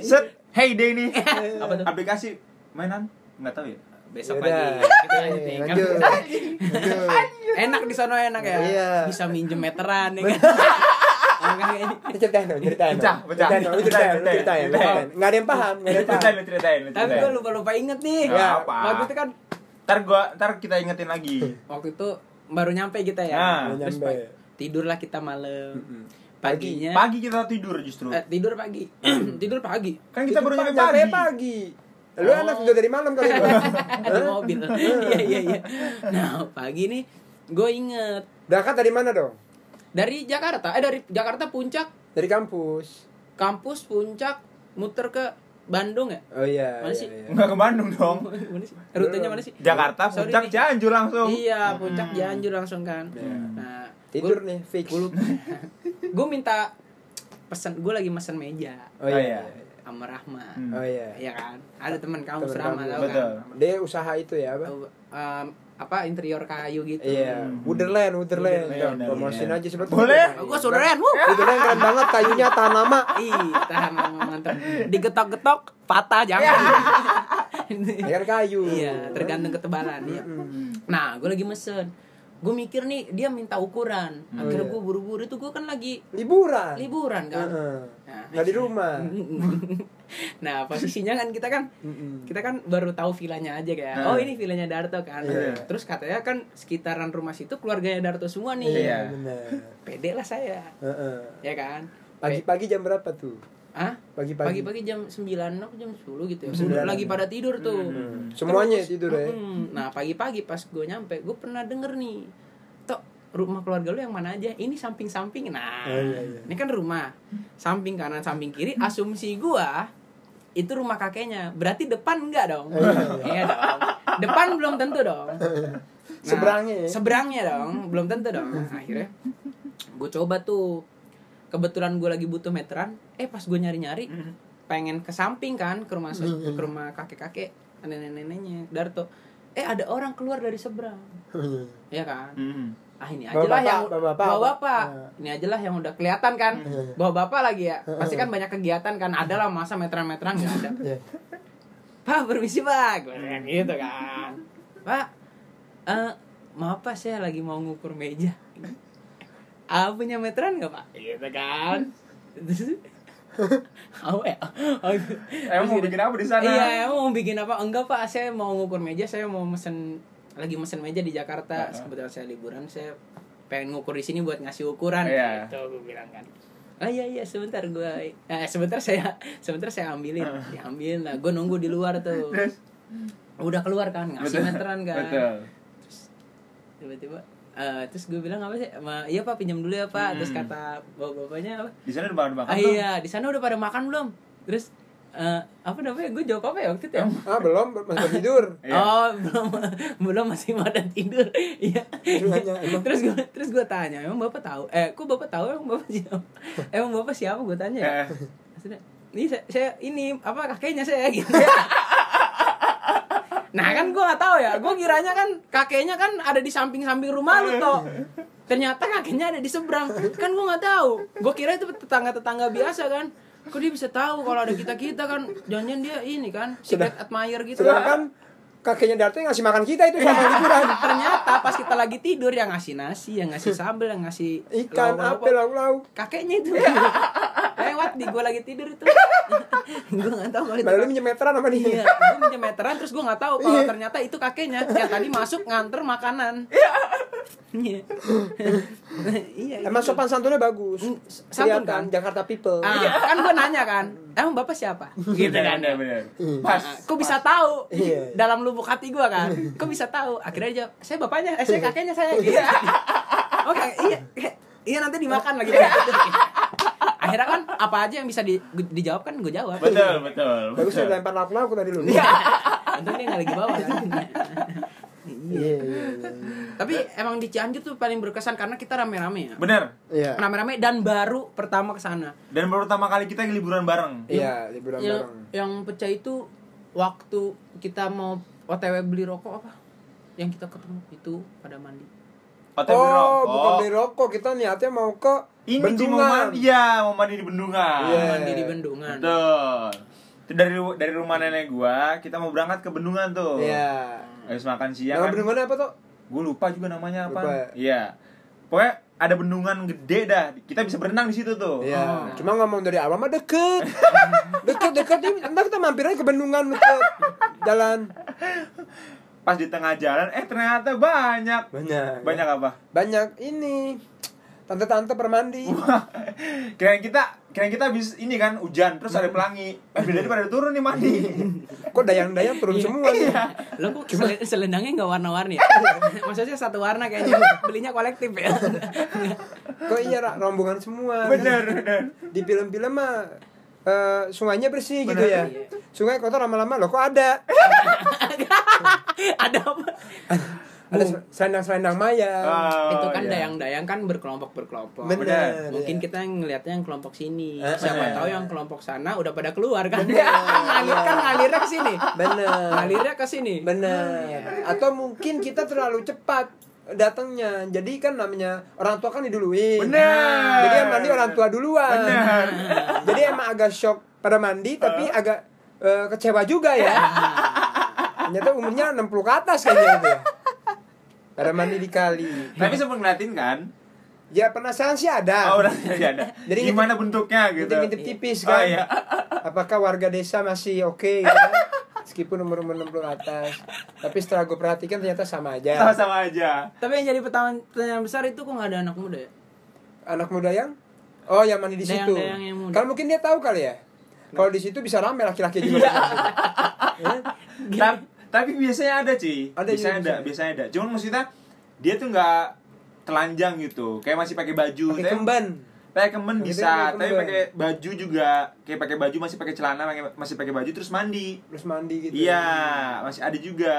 S1: Set, hey Denny.
S2: Apa tuh?
S1: Aplikasi mainan nggak tahu ya.
S2: Besok
S3: Yaudah.
S2: pagi kita lanjutin kan.
S3: Iya Lanjut. Lanjut.
S2: Enak di sana enak ya.
S3: Iya.
S2: Bisa minjem meteran ya kan. Oh, kayaknya.
S3: Ini ceritain dong, ceritain
S1: Pecah,
S3: dong.
S1: pecah.
S3: Ceritain dong, lu ceritain, lu
S1: Ceritain,
S3: ceritain, lu
S1: ceritain.
S3: ceritain. Nggak ada yang paham, nggak ada yang
S1: Ceritain
S3: paham.
S1: lu ceritain lu
S2: Tapi gue
S1: ceritain.
S2: lupa-lupa inget nih.
S1: Nggak
S2: Ya,
S1: apa.
S2: Bagusnya kan
S1: Ntar gua ntar kita ingetin lagi.
S2: waktu itu baru nyampe kita ya.
S1: Nah,
S3: baru
S2: Terus
S3: nyampe.
S2: pag- tidurlah kita
S3: Mm-mm.
S2: malam. Paginya
S1: Pagi kita tidur justru.
S2: Iya. eh, tidur pagi. tidur pagi.
S1: Kan kita baru nyampe
S3: Nyampe
S1: pagi.
S3: pagi. Lu
S1: Oh.
S3: anak udah dari malam kali gua.
S2: Di mobil. Iya iya iya. Nah, pagi nih gue inget
S3: Berangkat dari mana dong?
S2: dari Jakarta eh dari Jakarta puncak
S3: Dari kampus.
S2: kampus puncak muter ke Bandung ya
S3: Oh iya.
S2: Mana
S3: iya,
S2: sih?
S3: iya.
S1: Enggak ke Bandung dong.
S2: Mana sih? rutenya mana sih
S1: Jakarta
S2: Sorry
S1: puncak
S2: nih.
S1: Cianjur langsung.
S2: iya puncak
S1: Hmm.
S2: Cianjur langsung kan
S3: Ah. Iya.
S2: nah
S3: Tidur nih, fix.
S2: gue minta pesan gue lagi mesen meja
S3: Oh
S1: Oh,
S3: iya.
S1: iya.
S3: iya.
S2: sama Rahma
S1: Hmm.
S3: Oh iya.
S2: ya kan ada teman kamu
S3: Temen
S2: Rahma
S3: kamu.
S2: tau
S1: Betul.
S2: kan
S3: Dia usaha itu ya, apa?
S2: Tahu, um, apa interior kayu gitu
S3: Iya,
S1: Hmm.
S3: Wonderland, Wonderland.
S1: Wonderland,
S3: Jangan Promosiin
S1: Wonderland.
S3: aja sebetulnya.
S1: iya. Boleh.
S2: gue saudaraan Oh, wuh.
S3: Wonderland keren banget kayunya tahan lama.
S2: Ih, tahan lama, mantap. Digetok-getok, patah jangan.
S3: Ya kan kayu.
S2: Iya, tergantung ketebalan ya. Nah, gue iya. lagi mesen. gue mikir nih dia minta ukuran akhirnya gue buru-buru itu gue kan lagi
S3: Hmm. Oh, iya. liburan
S2: liburan kan
S3: Heeh.
S2: Nah.
S3: nggak di rumah
S2: nah posisinya kan kita kan
S3: Mm-mm.
S2: kita kan baru tahu villanya aja kayak
S1: Ah.
S2: oh ini villanya Darto kan
S1: Iya.
S2: terus katanya kan sekitaran rumah situ keluarganya Darto semua nih
S1: Iya.
S3: iya benar
S2: pede lah saya
S3: Heeh.
S2: ya kan
S3: pagi-pagi jam berapa tuh
S2: ah
S3: pagi-pagi
S2: pagi-pagi jam 9 atau jam 10 gitu ya
S3: Sembilan.
S2: udah lagi pada tidur tuh
S1: Hmm.
S3: Mm. semuanya
S2: Terus-
S3: tidur ya
S2: Mm-mm. nah pagi-pagi pas gue nyampe gue pernah denger nih tok rumah keluarga lu yang mana aja ini samping-samping nah
S3: Oh, iya, iya.
S2: ini kan rumah samping kanan samping kiri asumsi gua itu rumah kakeknya berarti depan enggak dong
S3: Oh,
S2: iya
S3: iya,
S2: dong depan belum tentu dong Nah,
S3: Seberangnya ya?
S2: seberangnya dong belum tentu dong Nah, akhirnya gue coba tuh kebetulan gue lagi butuh meteran eh pas gue nyari nyari pengen ke samping kan ke rumah so- ke rumah kakek kakek nenek neneknya Darto eh ada orang keluar dari seberang ya kan
S1: Hmm.
S2: ah ini aja
S3: Bawa
S2: lah
S3: bapak,
S2: yang
S3: bawa bapak.
S2: bawa bapak
S3: Nah.
S2: ini aja lah yang udah kelihatan kan
S3: Hmm.
S2: bawa bapak lagi ya pasti kan banyak kegiatan kan ada lah masa meteran meteran nggak ada
S3: Iya.
S2: pak permisi pak Gua
S3: Mm.
S2: bilang gitu kan pak eh maaf pak saya lagi mau ngukur meja ah punya meteran nggak pak gitu kan Terus, Oh, eh, oh, gitu.
S1: Emang Eh, mau
S2: Terus
S1: bikin apa di sana?
S2: Iya, emang mau bikin apa? Enggak pak, saya mau ngukur meja, saya mau mesen lagi mesen meja di Jakarta.
S1: Heeh.
S2: Kebetulan saya liburan, saya pengen ngukur di sini buat ngasih ukuran.
S1: Iya.
S2: Gitu, gue bilang kan. Oh iya iya sebentar gue, eh, sebentar saya sebentar saya ambilin, diambilin lah. Gue nunggu di luar tuh.
S1: Terus?
S2: Udah keluar kan, ngasih meteran kan.
S1: Betul.
S2: Tiba-tiba eh, terus gue bilang apa sih? Ma, iya pak pinjam dulu ya pak. Terus kata bapak-bapaknya apa?
S1: Di sana udah makan Hmm. makan
S2: Ah, iya, di sana udah pada makan belum? Terus eh, apa namanya? Gue jawab apa ya waktu itu ya?
S3: ah belum masih tidur
S1: Iya.
S2: Oh, belum belum masih pada tidur. Iya.
S3: Terus nanya, emang-
S2: terus gue terus gue tanya, emang Bapak tahu? Eh, kok Bapak tahu emang Bapak siapa? Emang Bapak siapa gue tanya ya?
S1: Eh.
S2: Maksudnya, ini saya, saya ini apa kakeknya saya gitu. nah kan gue nggak tahu ya, gue kiranya kan kakeknya kan ada di samping-samping rumah lu toh. Ternyata kakeknya ada di seberang, kan gue nggak tahu. Gue kira itu tetangga-tetangga biasa kan. Kok dia bisa tahu kalau ada kita kita kan, jangan-jangan dia ini kan, secret admirer gitu. Iya.
S3: sedangkan kakeknya Darto yang ngasih makan kita itu selama liburan
S2: ternyata pas kita lagi tidur yang ngasih nasi yang ngasih sambel yang ngasih
S3: ikan
S2: lauk-lauk.
S3: apel lauk-lauk
S2: kakeknya itu lewat di gua lagi tidur itu gua nggak tahu kalau itu
S3: Malah lu minjem meteran sama
S2: Gitu iya
S3: dia
S2: gua minjem meteran terus gua nggak tahu kalau
S3: Iya.
S2: ternyata itu kakeknya yang tadi masuk nganter makanan iya iya
S3: Emang
S2: gitu.
S3: sopan santunnya bagus.
S2: Hmm, santun
S3: Kelihatan,
S2: kan?
S3: Jakarta people.
S2: ah, kan gua nanya kan emang bapak siapa gitu kan
S1: Bener, bener. Pas.
S3: Ah,
S2: Kok bisa tahu
S3: Iya, iya.
S2: dalam lubuk hati gua kan? Kok bisa tahu? Akhirnya dia jawab, saya bapaknya, eh, saya kakeknya saya. Gitu. Oke, iya. Iya nanti dimakan lagi. Akhirnya kan apa aja yang bisa di- dijawab kan gue jawab.
S1: Betul, betul.
S3: Bagus
S1: betul.
S3: ya, lu lempar lauk-lauk tadi lu. Iya.
S2: Untung dia nggak lagi bawa. kan.
S3: Iya. iya, iya.
S2: Tapi emang di Cianjur tuh paling berkesan karena kita rame-rame ya.
S1: Bener.
S3: Iya.
S2: Rame-rame dan baru pertama ke sana.
S1: Dan baru pertama kali kita liburan bareng.
S3: Iya, liburan
S2: Yang,
S3: bareng.
S2: yang pecah itu waktu kita mau OTW beli rokok apa? Yang kita ketemu itu pada mandi.
S1: Hotel Biro.
S3: Oh, bukan beli rokok, kita niatnya mau ke
S1: Ini
S3: bendungan.
S1: bendungan. Iya, mau mandi di bendungan.
S3: Iya.
S2: mandi di bendungan.
S1: Betul. Itu dari ru- dari rumah nenek gua, kita mau berangkat ke bendungan tuh.
S3: Iya.
S1: Habis makan siang
S3: Nama
S1: kan.
S3: bendungan apa tuh?
S1: Gua lupa juga namanya
S3: Lupa ya?
S1: apa. Iya. Pokoknya ada bendungan gede dah. Kita bisa berenang di situ tuh.
S2: Oh.
S3: Iya. Cuma ngomong dari awal mah deket. Deket-deket ini entar kita mampir aja ke bendungan deket. Jalan.
S1: Pas di tengah jalan, eh ternyata banyak.
S3: Banyak.
S1: Banyak apa?
S3: Banyak ini. Tante-tante permandi.
S1: kirain kita kirain kita habis ini kan hujan terus ada pelangi. Eh bedanya pada turun nih mandi.
S3: Kok dayang-dayang turun semua nih.
S2: Lo kok selen- selendangnya nggak warna-warni ya? Maksudnya satu warna kayaknya belinya kolektif ya.
S3: Kok iya Ra? rombongan semua.
S1: bener bener.
S3: di film-film mah eh, sungainya bersih gitu
S1: Benar.
S3: ya. Sungai kotor lama-lama loh kok ada.
S2: Ada apa?
S3: Ada selendang-selendang maya.
S1: Oh,
S2: itu kan
S1: iya.
S2: dayang-dayang kan berkelompok-berkelompok.
S3: Bener. iya.
S1: benar.
S2: Mungkin kita yang ngelihatnya yang kelompok sini.
S3: Eh,
S2: Siapa
S1: bener.
S2: tahu yang kelompok sana udah pada keluar kan.
S3: Bener. Iya.
S2: Kan ngalir kan ngalirnya ke sini.
S3: Bener.
S2: Ngalirnya ke sini.
S1: Ah, iya.
S3: Bener. Atau mungkin kita terlalu cepat datangnya. Jadi kan namanya orang tua kan diduluin.
S1: Bener.
S3: Jadi yang mandi orang tua duluan.
S1: Bener. Ah.
S3: Jadi emang agak shock pada mandi tapi agak eh, kecewa juga ya. Ternyata umurnya 60 ke atas kayaknya gitu ya. Ada mandi di kali.
S1: Tapi sempet ngeliatin kan?
S3: Ya penasaran sih ada.
S1: Oh, udah jadi ada.
S3: Jadi ngintip-
S1: gimana bentuknya gitu?
S3: Ngintip-ngintip tipis
S1: Oh,
S3: kan.
S1: iya.
S3: Apakah warga desa masih oke gitu kan? Meskipun umur umur 60 atas. Tapi setelah gue perhatikan ternyata
S1: Ya.
S3: sama aja.
S1: Sama-sama aja.
S2: Tapi yang jadi pertanyaan, pertanyaan besar itu kok nggak ada anak muda ya?
S3: Anak muda yang Oh, yang mandi di
S2: Dayang-
S3: situ.
S2: dayang yang muda.
S3: Kalau mungkin dia tahu kali ya. Kalau di situ bisa rame laki-laki juga.
S2: Iya.
S3: Eh,
S1: Ta- tapi biasanya ada sih biasanya
S3: Ada juga,
S1: ada
S3: biasanya.
S1: biasanya ada cuman maksudnya dia tuh nggak telanjang gitu kayak masih pakai baju
S3: Pakai
S1: Tapi-
S3: kemban.
S1: pakai kemben
S3: Pakai
S1: bisa
S3: kemben.
S1: tapi pakai baju juga kayak pakai baju masih pakai celana pakai- masih pakai baju terus mandi
S3: Terus mandi gitu.
S1: iya masih ada juga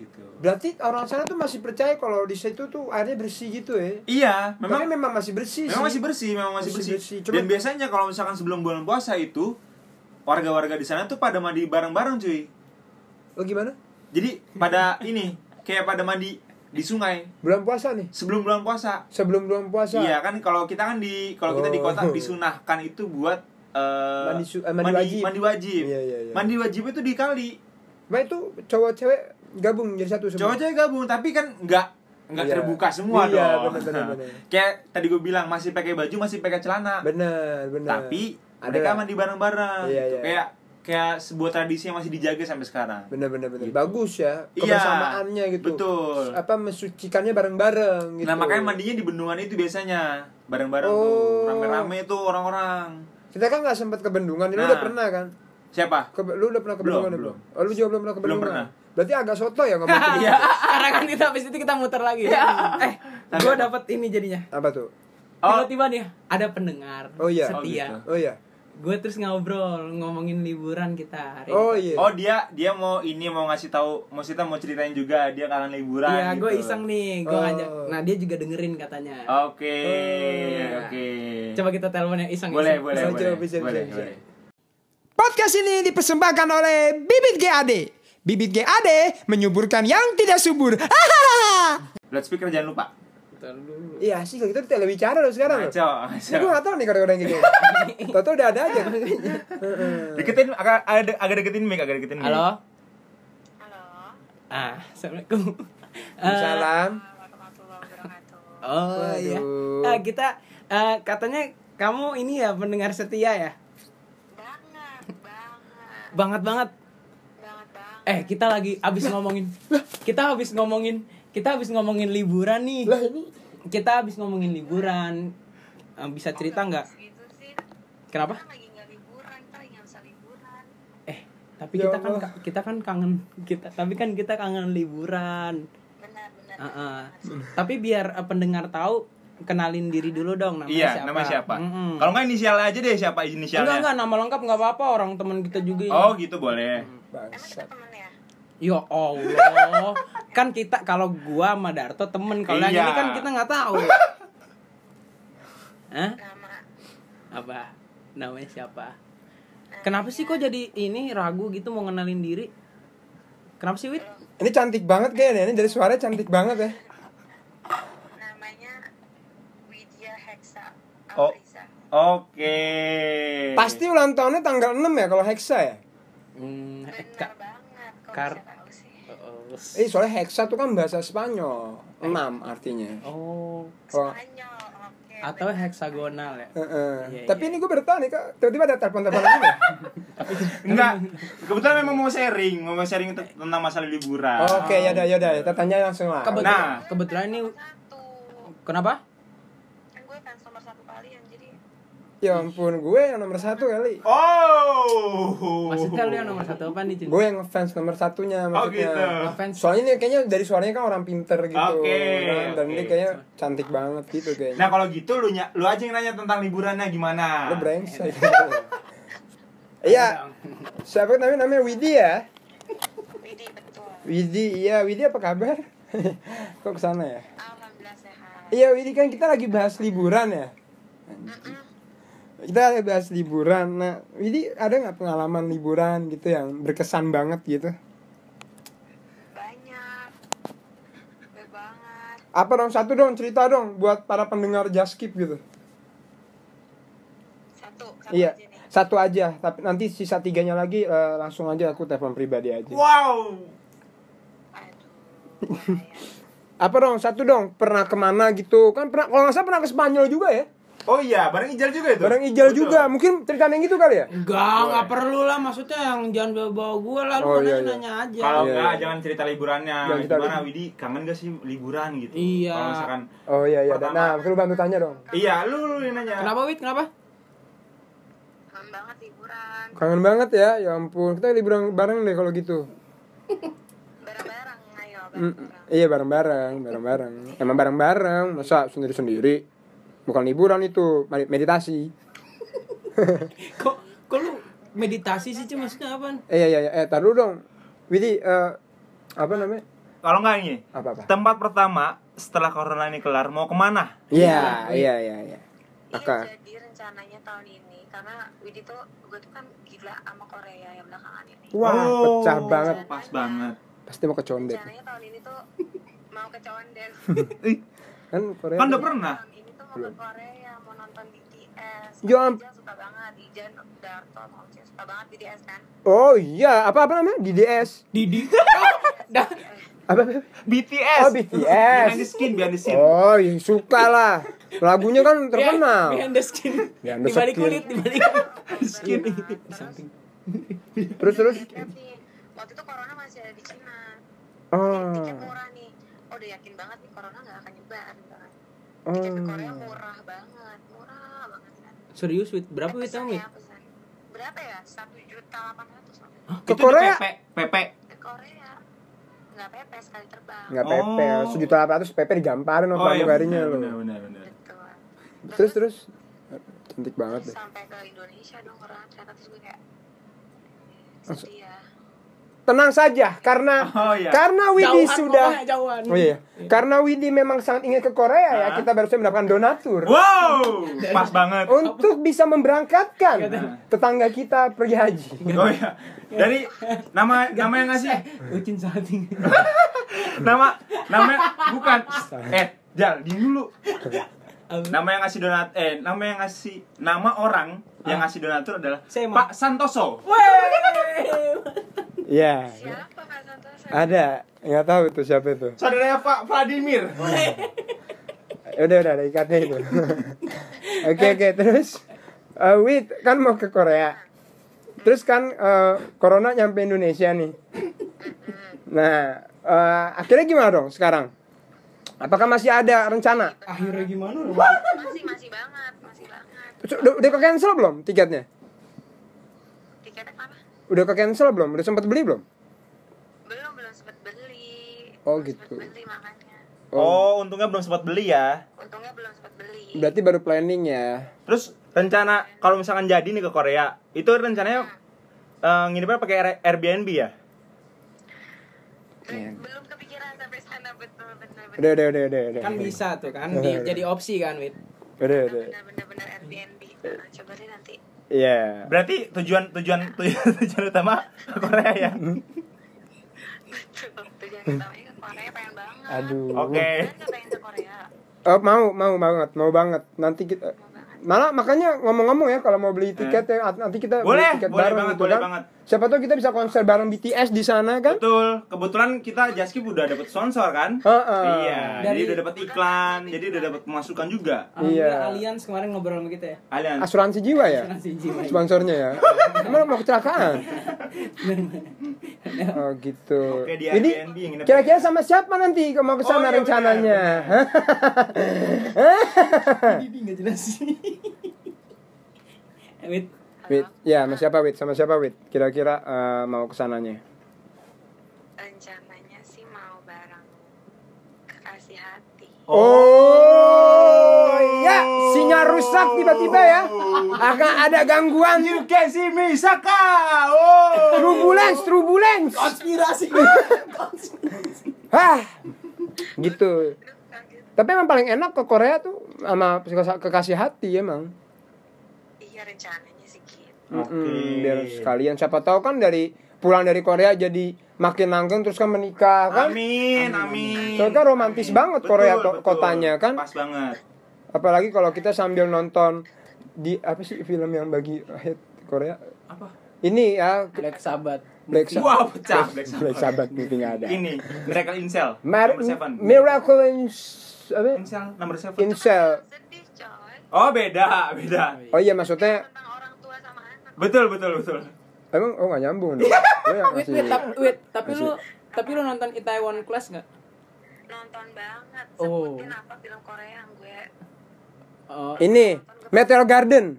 S1: gitu
S3: Berarti orang sana tuh masih percaya kalau di situ tuh airnya bersih gitu ya.
S1: iya
S3: Memang
S1: memang
S3: memang masih bersih
S1: memang
S3: sih.
S1: masih bersih memang masih,
S3: Masih
S1: bersih,
S3: bersih.
S1: dan
S3: Cuman-
S1: biasanya kalau misalkan sebelum bulan puasa itu warga-warga di sana tuh pada mandi bareng-bareng cuy
S3: Oh gimana?
S1: jadi pada ini kayak pada mandi di sungai
S3: Bulan puasa nih.
S1: sebelum bulan puasa
S3: Sebelum bulan puasa.
S1: Iya kan kalau kita kan di kalau kita di kota
S3: Oh.
S1: disunahkan itu buat eh,
S3: Mandi su- eh, mandi wajib.
S1: mandi wajib.
S3: Iya, iya, iya.
S1: Mandi wajib itu di kali.
S3: Nah itu cowok cewek gabung jadi satu semua.
S1: Cowok-cowok gabung tapi kan nggak nggak
S3: Iya.
S1: terbuka semua
S3: Iya,
S1: dong.
S3: bener, bener, bener.
S1: Kayak tadi gue bilang masih pakai baju masih pakai celana.
S3: Benar, benar.
S1: Tapi
S3: Nah, Ada
S1: mereka
S3: lah.
S1: mandi bareng-bareng.
S3: Iya,
S1: gitu.
S3: iya.
S1: Kayak kayak sebuah tradisi yang masih dijaga sampai sekarang.
S3: benar benar benar.
S1: Gitu.
S3: Bagus ya
S1: Iya,
S3: kebersamaannya gitu.
S1: betul.
S3: Apa mensucikannya bareng-bareng gitu.
S1: Nah makanya mandinya di bendungan itu biasanya bareng-bareng
S3: Oh.
S1: tuh rame-rame tuh orang-orang.
S3: Kita kan nggak sempat ke bendungan, lu
S1: Nah.
S3: udah pernah kan?
S1: Siapa?
S3: Ke, lu udah pernah ke
S1: Belum,
S3: bendungan? ya,
S1: belum.
S3: Oh, lu juga belum pernah ke
S1: Belum
S3: bendungan.
S1: pernah.
S3: Berarti agak soto ya ngomong ke-
S2: Iya. Karena kan kita habis itu kita muter lagi.
S3: Iya.
S2: Eh,
S1: Tapi
S2: gua
S1: apa?
S2: dapat ini jadinya.
S3: Apa tuh?
S1: Oh.
S2: Tiba-tiba nih ada pendengar
S3: Oh, iya.
S1: Oh, gitu.
S2: setia.
S3: Oh iya.
S2: Gue terus ngobrol ngomongin liburan kita hari.
S3: Oh
S2: ini.
S3: iya.
S1: Oh dia dia mau ini mau ngasih tahu maksudnya mau ceritain juga dia kangen liburan.
S2: Iya,
S1: gitu.
S2: gue iseng nih, gue
S3: Oh.
S2: ngajak. Nah, dia juga dengerin katanya.
S1: Oke
S3: Oh.
S1: oke.
S2: Coba kita telepon yang iseng. ya,
S1: Boleh
S2: iseng.
S1: boleh
S3: Bisa,
S1: boleh.
S3: bisa, bisa,
S1: boleh,
S3: bisa.
S1: boleh.
S3: Podcast ini dipersembahkan oleh Bibit GAD. Bibit GAD menyuburkan yang tidak subur.
S1: Loudspeaker jangan lupa.
S2: Bentar dulu.
S3: Iya sih kalau gitu tidak bicara loh sekarang.
S1: Ngaco
S3: Ini gue
S1: ngaco.
S3: gak tau nih kode-kode yang kayak gini Tau-tau udah ada aja Heeh.
S1: Deketin agak agak agak deketin mic agak
S3: Hmm.
S1: deketin mic.
S2: Halo.
S4: Halo,
S2: Ah, assalamualaikum. Eh,
S3: Salam
S4: warahmatullahi wabarakatuh.
S2: Oh
S3: Waduh.
S2: iya. Eh, kita eh, katanya kamu ini ya pendengar setia ya.
S4: Banget, banget,
S2: Banget banget.
S4: banget banget.
S2: Eh kita lagi abis ngomongin. Kita abis ngomongin. Kita abis ngomongin liburan nih. Kita abis ngomongin liburan. Eh, bisa cerita nggak?
S4: Gitu sih.
S2: Kenapa?
S4: Kita lagi nggak liburan, kita lagi nggak bisa liburan.
S2: Eh tapi
S3: Ya
S2: kita kan
S3: Allah.
S2: kita kan kangen kita. Tapi kan kita kangen liburan.
S4: Benar, benar.
S2: Ah, ah. Tapi biar eh, pendengar tahu kenalin diri dulu dong namanya
S1: Iya
S2: siapa.
S1: nama siapa?
S2: Mm-mm.
S1: Kalau nggak inisial aja deh siapa inisialnya.
S2: Enggak enggak nama lengkap nggak apa-apa orang teman kita juga.
S1: Oh gitu boleh.
S4: Emang kita
S3: Bangsat
S4: temen ya?
S2: Ya Allah, kan kita kalau gua sama Darto temen kalau yang
S1: Iya.
S2: ini kan kita nggak tahu. Hah?
S4: Nama,
S2: Apa? Namanya siapa? Kenapa sih kok jadi ini ragu gitu mau ngenalin diri? Kenapa sih Wit?
S3: Ini cantik banget kayaknya Ini dari suaranya cantik banget ya
S1: Iya.
S4: namanya Widya Hexa
S1: Oh.
S4: Afriza.
S1: Oke.
S3: Pasti ulang tahunnya tanggal 6 ya kalau Hexa ya
S2: Hmm, eh,
S4: Benar
S2: Kak.
S4: banget. Kok
S2: Kar-
S4: bisa tahu sih?
S3: Eh soalnya Hexa tuh kan bahasa Spanyol
S2: Eh.
S3: 6 artinya
S2: Oh,
S3: Oh.
S4: Spanyol, oke.
S2: atau heksagonal ya?
S3: Heeh.
S2: Iya,
S3: Tapi
S2: iya.
S3: ini gue baru tahu nih kak Tiba-tiba ada telepon-telepon lagi ya?
S1: Enggak. Kebetulan memang mau sharing, mau sharing te- tentang masalah liburan.
S3: Oke ya yaudah yaudah Kita tanya langsung
S2: Ah.
S3: lah
S2: Kebetulan,
S1: Nah.
S2: kebetulan ini
S4: Nomor kan satu.
S2: kenapa?
S4: Kan gue fans nomor satu kalian, jadi
S3: Ya ampun gue yang nomor satu kali
S1: Oh.
S2: Maksudnya lu yang nomor satu apa nih? Cin?
S3: Gue yang ngefans nomor satunya
S1: Oh
S3: maksudnya
S1: gitu.
S2: Ngefans.
S3: Soalnya ini kayaknya dari suaranya kan orang pinter gitu
S1: Oke,
S3: kan? Dan ini
S1: oke.
S3: kayaknya cantik banget gitu kayaknya
S1: Nah kalau gitu lu ny- lu aja yang nanya tentang liburannya gimana?
S3: Lu brengsek. Iya. Siapa namanya namanya Widi ya?
S4: Widi betul.
S3: Widi, iya Widi apa kabar? Kok kesana ya?
S4: Alhamdulillah sehat.
S3: Iya Widi kan kita lagi bahas liburan ya. Kita lagi bahas liburan. Nah, Widi ada nggak pengalaman liburan gitu yang berkesan banget gitu?
S4: Banyak. Gue banget.
S3: Apa dong satu dong cerita dong buat para pendengar Jaskip gitu.
S4: Satu, satu
S3: Iya.
S4: aja nih.
S3: Satu aja, tapi nanti sisa tiganya lagi eh, langsung aja aku telepon pribadi aja.
S1: Wow.
S4: Aduh, bahaya.
S3: apa dong satu dong pernah kemana gitu kan pernah kalau nggak salah pernah ke Spanyol juga ya
S1: Oh iya, bareng Ijal juga itu.
S3: bareng Ijal
S1: Betul.
S3: juga mungkin ceritanya gitu kali ya
S2: Enggak, enggak perlu lah maksudnya yang jangan bawa-bawa gua lah, lu
S3: Oh,
S2: kan
S3: iya,
S2: aja
S3: iya.
S2: nanya aja.
S1: Kalau
S3: Iya,
S1: enggak
S3: iya.
S1: jangan cerita liburannya.
S3: Jangan cerita
S1: Gimana
S3: liburan.
S1: Widi, kangen gak sih liburan gitu?
S2: Iya.
S1: Kalau misalkan
S3: oh iya iya
S1: Pertama-
S3: nah perlu bantu tanya dong
S1: Iya, lu lu yang nanya.
S2: Kenapa Wit? Kenapa?
S4: Kangen banget liburan.
S3: kangen banget ya ya ampun kita liburan bareng deh kalau gitu
S4: Bareng-bareng ayo
S3: Mm,
S4: bareng-bareng.
S3: iya bareng-bareng, bareng-bareng.
S1: Iya.
S3: Emang bareng-bareng, masa sendiri-sendiri? Bukan liburan itu, med- meditasi.
S2: Kok kok lu meditasi sih cuma maksudnya apaan?
S3: Eh iya iya, iya. eh tar dulu dong. Widi eh, apa namanya?
S1: Kalau enggak ini.
S3: Apa-apa?
S1: Tempat pertama setelah corona ini kelar mau kemana?
S3: Iya, iya iya iya. Maka-
S4: Iya jadi rencananya tahun ini karena Widi tuh gue tuh kan gila sama Korea yang belakangan ini.
S3: Wah,
S1: Oh,
S3: pecah banget.
S1: Pas banget.
S3: Pasti mau ke Condet.
S1: Iya.
S4: Rencananya tahun ini tuh mau ke Condet.
S1: Ih,
S3: Kan Korea.
S1: kan udah pernah.
S4: Tahun ini tuh mau ke Korea mau nonton BTS.
S3: Ya am-
S4: Ijan suka banget. Ijan Darto sama Oce suka banget BTS kan.
S3: Oh iya, apa apa namanya? DDS.
S2: Didi. Oh, Dah.
S3: Apa? apa?
S1: BTS.
S3: Oh, BTS.
S1: Behind the skin, behind the skin.
S3: Oh, iya, suka lah. Lagunya kan
S1: Iya,
S3: terkenal.
S2: Behind the skin.
S3: Behind the
S2: Di balik
S3: skin.
S2: kulit, di balik.
S1: Skin.
S4: Terus-
S1: iya.
S3: Terus terus.
S4: Lihat nih, waktu itu corona masih ada di Cina.
S3: Oh.
S4: Tiketnya murah nih. Oh, udah yakin banget nih corona nggak akan nyebar. gitu kan. Tiket ke
S3: Oh.
S4: Korea murah banget, murah banget. kan.
S2: Serius Wit, berapa
S4: Eh,
S2: Wit
S4: pesan
S2: kamu? Wit?
S4: ya, pesan. Berapa ya? Satu juta delapan ratus.
S1: Itu
S3: Ke
S1: di
S3: Korea.
S1: PP, PP.
S4: Ke Korea nggak pepe sekali terbang.
S3: Enggak pepe,
S1: Oh.
S3: sejuta delapan ratus pepe digamparin sama
S1: iya,
S3: pramugarinya
S1: benar,
S3: loh.
S1: benar, benar, benar.
S4: Betul.
S3: Terus terus cantik banget deh.
S4: sampai ke Indonesia dong corona ternyata terus gue kayak sedih ya.
S3: Tenang saja karena
S1: Oh, iya.
S3: karena Widi
S2: Jauhan,
S3: sudah
S2: pokoknya jauhan.
S3: Oh iya. Karena Widi memang sangat ingin ke Korea ya,
S1: Hah?
S3: kita barusan mendapatkan donatur
S1: Wow, pas banget.
S3: untuk bisa memberangkatkan
S1: Iya,
S3: tetangga kita pergi haji.
S1: Oh iya. Dari nama nama yang ngasih
S2: Ucin sating.
S1: nama nama bukan eh Jal di dulu nama yang ngasih donat eh nama yang ngasih nama orang yang
S3: Ah.
S1: ngasih donatur adalah
S2: Sema.
S1: Pak Santoso
S3: Iya. Ah.
S4: Siapa Pak Santoso?
S3: Ada, nggak tahu itu siapa itu.
S1: saudaranya Pak Vladimir
S3: Oh, iya. Udah udah ada ikatnya itu. Oke oke terus Eh, Wid kan mau ke Korea. Terus kan eh, corona nyampe Indonesia nih. Nah, eh, akhirnya gimana dong sekarang? Apakah masih ada rencana?
S2: Akhirnya gimana lu?
S4: Masih masih banget, masih banget.
S3: Terus Udah, udah ke cancel belum tiketnya?
S4: Tiketnya apa?
S3: Udah ke cancel belum? Udah sempat beli belum?
S4: Belum belum sempet beli.
S3: Oh,
S4: Belum
S3: gitu.
S4: sempet beli makanya.
S1: oh untungnya belum sempat beli ya
S4: Untungnya belum sempet beli.
S3: Berarti baru planning ya.
S1: terus rencana kalau misalkan jadi nih ke Korea itu rencananya eh, nginepnya pakai Air- Airbnb ya
S4: Be- Belum kepikiran sampai sana betul betul
S3: Iya.
S4: betul.
S3: Udah udah udah udah udah.
S2: Kan bisa tuh kan di-
S3: Iya.
S2: jadi opsi kan Wit.
S3: Udah Eh. udah.
S4: Bener bener bener Airbnb. Nah, coba deh nanti.
S3: Iya.
S1: berarti tujuan tujuan tujuan, tujuan utama ke Korea ya
S3: Hmm.
S4: Betul. Tujuan utamanya ke Korea pengen banget.
S3: Eh. Aduh. Eh.
S1: oke
S4: Kalian nggak pengen ke Korea?
S3: Oh, mau mau banget, mau banget. Nanti kita malah makanya ngomong-ngomong ya kalau mau beli tiket ya at- nanti
S1: Eh.
S3: kita
S1: Boleh,
S3: beli tiket
S1: boleh
S3: bareng
S1: banget,
S3: gitu
S1: boleh
S3: kan.
S1: banget.
S3: Siapa tahu kita bisa konser bareng BTS di sana kan?
S1: Betul, kebetulan kita Jaskip udah dapet sponsor kan?
S3: Heeh.
S1: Iya, jadi
S2: Dari-
S1: udah dapet iklan, jadi udah dapet pemasukan juga.
S3: Iya.
S2: Alhamdulillah Alians kemarin ngobrol sama kita ya. Kan
S1: Alian.
S3: Asuransi jiwa ya?
S2: Asuransi jiwa.
S3: Sponsornya ya. Emang mau kecelakaan. oh gitu.
S1: Oke, di
S3: Jadi
S1: Airbnb yang nginep.
S3: kira-kira sama siapa nanti kalau mau ke
S1: Oh,
S3: sana
S1: iya,
S3: rencananya?
S2: Didi enggak jelas. Eh, Wit,
S3: Wit, ya sama siapa Wit? Sama siapa Wit? Kira-kira eh, mau ke sananya?
S4: Rencananya sih mau bareng kekasih hati.
S3: Oh, ya, sinyal rusak tiba-tiba ya. Akan ada gangguan
S1: You can see me, Saka! Oh!
S3: turbulence, turbulence.
S1: Iya.
S2: konspirasi.
S3: Hah. Gitu.
S4: Aduh, kaget.
S3: Tapi emang paling enak ke Korea tuh sama kekasih- kekasih hati emang.
S4: Iya rencananya sih gitu.
S3: Mm-mm, biar sekalian siapa tahu kan dari pulang dari Korea jadi makin langgeng terus kan menikah kan.
S1: Amin, amin.
S3: Soalnya kan romantis banget Korea to- kotanya, kan?
S1: Pas banget. Ah.
S3: Apalagi kalau kita sambil nonton di apa sih film yang bagi hit Korea?
S2: Apa?
S3: ini ya
S2: Black Sabbath.
S3: Black Sabbath.
S1: Wah, pecah Black
S3: Black
S1: Sabbath.
S3: Sabbath mungkin nggak ada.
S1: Ini Miracle Incel.
S3: Mar-
S1: number seven.
S3: Miracle in apa?
S1: Incel number seven.
S3: Incel.
S4: Iya, Sedih coy.
S1: Oh, beda, beda.
S3: Oh iya maksudnya
S4: Tentang orang tua sama anak.
S1: Betul, betul, betul.
S3: emang oh nggak nyambung.
S1: Iya.
S3: dong. Gua yang
S2: Wait,
S3: masih-
S2: wait, tap- wait, tapi lu tapi lu nonton Itaewon Class nggak?
S4: Nonton banget.
S2: Oh.
S4: Sebutin apa film Korea yang gue
S2: Oh,
S3: Ini Meteor Garden.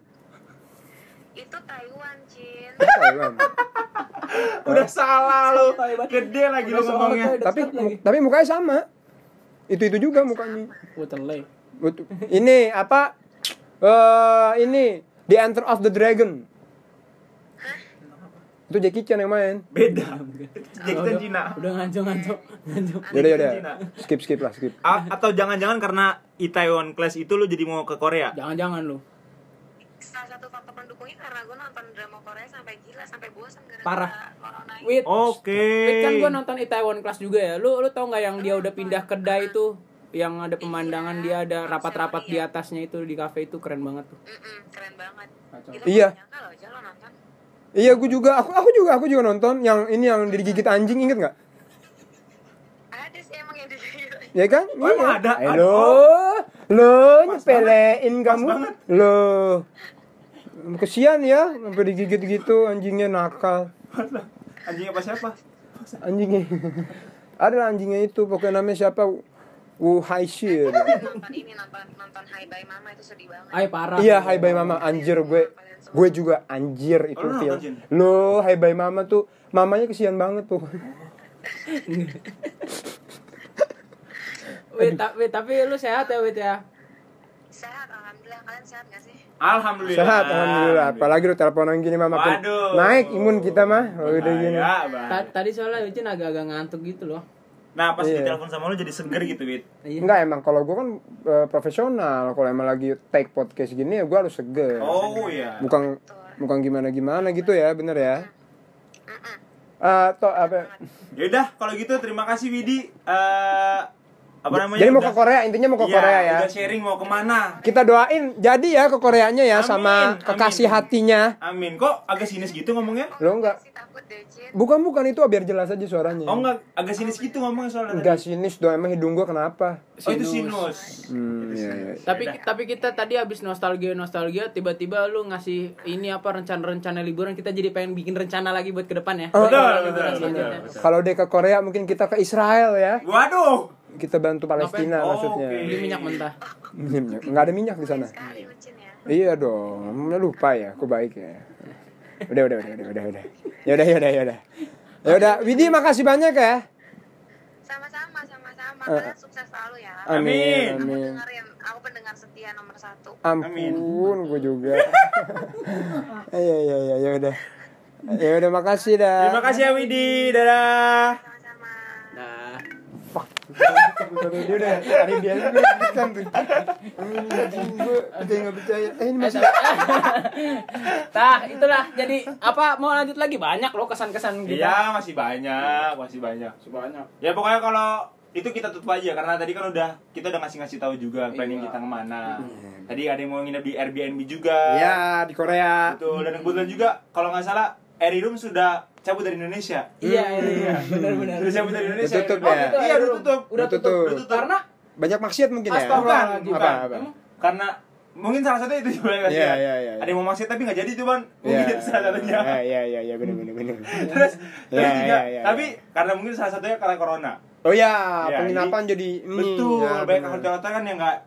S4: itu Taiwan, Cin.
S3: Taiwan.
S1: Udah salah lu.
S2: Hebat.
S1: Gede lagi lu
S2: Udah salah,
S1: ngomongnya.
S2: udah
S3: tapi
S2: stop lagi.
S3: tapi mukanya sama. Itu itu juga mukanya.
S2: Waterlay.
S3: Betul. Ini apa? Eh ini The Enter of the Dragon. Itu Jackie Chan yang main.
S1: Beda. Jackson
S2: udah-
S1: Cina.
S2: Udah nganjo-nganjo, nganjo.
S3: Yaudah yaudah.
S1: Cina.
S3: Skip skip lah skip.
S1: A- atau jangan-jangan karena Itaewon Class itu lu jadi mau ke Korea?
S2: Jangan-jangan lu.
S4: Salah satu faktor pendukungnya karena gue nonton drama Korea sampai gila, sampai bosan gara-gara
S2: Parah.
S4: corona ini.
S2: Wait.
S1: Oh,
S2: Wait,
S1: Oke.
S2: kan gua nonton Itaewon Class juga ya. Lu lu tau nggak yang dia udah pindah kedai tuh? yang ada pemandangan dia ada rapat-rapat di atasnya itu di cafe itu keren banget tuh.
S4: Mm-mm, keren banget. Gila,
S3: Iya.
S4: gak nyangka loh, Jal, lo nonton.
S3: Iya, gue juga. Aku aku juga aku juga nonton yang ini yang digigit anjing inget nggak?
S4: Ada sih emang yang digigit.
S3: Ya kan?
S1: Oh, emang ada?
S3: Eh, Lo, lo nyepelein kamu.
S1: banget.
S3: Lo. Kesian ya, sampai digigit gitu anjingnya nakal.
S1: Anjingnya apa siapa?
S3: Anjingnya. ada lah anjingnya itu, pokoknya namanya siapa? Wu Haixi. ya.
S4: nonton ini nonton nonton Hai Bye Mama itu sedih banget.
S2: Ay parah.
S3: Iya, Hai Bye Mama anjir gue. Gue juga anjir itu
S1: Oh, lu
S3: film.
S1: nonton, Jin?
S3: Lo, Hai Bye Mama tuh mamanya kesian banget tuh.
S2: Wait, ta- wait, tapi lu sehat ya, wait ya.
S4: Sehat, alhamdulillah kalian sehat gak sih?
S1: Alhamdulillah.
S3: Sehat alhamdulillah. Apalagi lu teleponan gini mah makin
S1: Waduh.
S3: naik imun kita mah. Oh, udah gini.
S1: Bahaya,
S2: Ta-
S1: bahaya.
S2: tadi soalnya Ucin agak-agak ngantuk gitu loh.
S1: Nah, pas
S3: Iya.
S1: ditelepon sama lu jadi seger gitu, Wit.
S2: Iya.
S3: Enggak emang kalau gue kan eh, profesional. Kalau emang lagi take podcast gini ya gue harus seger.
S1: Oh iya.
S3: Bukan bukan gimana-gimana gitu ya, bener ya.
S4: Mm-mm.
S3: Atau apa?
S1: Ya udah, kalau gitu terima kasih Widi. Eh apa namanya?
S3: Jadi mau
S1: Udah-
S3: ke Korea, intinya mau ke
S1: Iya,
S3: Korea ya.
S1: Udah sharing mau kemana?
S3: Kita doain jadi ya ke Koreanya ya
S1: Amin,
S3: sama kekasih
S1: amin.
S3: hatinya.
S1: Amin. Kok agak sinis gitu ngomongnya?
S4: Kok
S3: Lo enggak-
S4: sih takut deh, Cin?
S3: Bukan bukan itu biar jelas aja suaranya.
S1: Oh enggak, agak sinis gitu ngomongnya soalnya.
S3: Enggak sinis dong emang hidung gua kenapa?
S1: Oh itu sinus.
S3: Hmm,
S1: Itu
S3: iya,
S1: sinus.
S2: Tapi
S1: Yaudah.
S2: tapi kita tadi habis nostalgia nostalgia tiba-tiba lu ngasih ini apa rencana-rencana liburan kita jadi pengen bikin rencana lagi buat ke depan ya.
S3: Oh,
S1: betul,
S2: Rencana
S1: betul,
S2: liburan
S1: betul,
S2: selanjutnya.
S1: betul.
S3: iya. Kalau dia ke Korea mungkin kita ke Israel ya.
S1: Waduh.
S3: Kita bantu
S1: Ngapain?
S3: Palestina
S1: Oh,
S3: maksudnya.
S1: oke.
S2: Beli minyak mentah.
S3: Minyak. Nggak ada minyak di sana.
S4: Sekali lo, Cin ya.
S3: Iya dong, lu lupa ya, aku baik ya. Udah udah udah udah udah udah. Ya udah ya udah ya udah. Ya udah, Widi makasih banyak ya.
S4: Sama-sama, sama-sama. Kalian sukses selalu ya.
S1: Amin.
S4: Aku
S3: Eh. Amin.
S4: dengerin, aku pendengar setia nomor satu.
S1: Amin.
S3: Ampun, gue juga. Iya iya iya ya udah. Ya udah makasih dah.
S1: Terima kasih ya Widi. Dadah.
S4: Sama-sama.
S2: Nah.
S3: Dia udah hari dia lagi kan tuh. Anjing, Gue udah nggak percaya. Eh ini masih
S2: Tah, itulah. Jadi apa mau lanjut lagi banyak loh kesan-kesan gitu.
S1: Iya, masih banyak, masih banyak.
S2: Banyak.
S1: Ya pokoknya kalau itu kita tutup aja karena tadi kan udah kita udah ngasih ngasih tahu juga planning
S2: Iya.
S1: kita kemana. Tadi ada yang mau nginep di Airbnb juga.
S3: Ya di Korea.
S1: Betul. Dan kebetulan juga kalau nggak salah Eri Room sudah cabut dari Indonesia.
S2: Iya, iya, iya. Benar-benar.
S1: Sudah cabut dari Indonesia.
S3: Udah tutup
S1: Airy Room.
S3: ya?
S1: Oh, gitu, Iya, udah tutup.
S2: Udah
S3: Udah tutup.
S2: tutup.
S1: Udah tutup.
S2: Karena
S3: Banyak maksiat mungkin ya.
S1: Bukan,
S2: Astagfirullahaladzim.
S1: bukan.
S3: Apa, apa?
S1: Karena mungkin salah satu itu juga ya.
S3: Iya, iya, iya.
S1: Ada yang mau maksud tapi nggak jadi tuh, Bang.
S3: Iya,
S1: Mungkin salah satunya.
S3: Iya iya iya iya benar benar benar.
S1: Terus terus
S3: Iya,
S1: juga,
S3: iya, iya.
S1: tapi karena mungkin salah satunya karena corona.
S3: Oh ya,
S1: Ya,
S3: penginapan jadi ini.
S1: Betul,
S3: ya,
S1: banyak
S3: benar.
S1: hotel-hotel kan yang nggak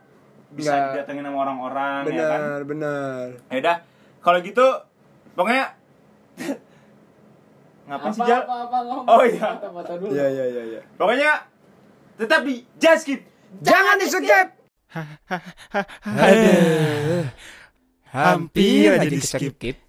S1: bisa
S3: Nggak.
S1: didatengin sama orang-orang ya kan.
S3: Benar, benar.
S1: Ya udah, kalau gitu pokoknya ngapain sih Jal?
S2: apa ngomong.
S1: Oh, iya.
S2: Foto-foto dulu.
S3: Iya, iya, iya, iya.
S1: Pokoknya tetap di Jaskip.
S3: Jangan di skip.
S5: Hampir aja di skip.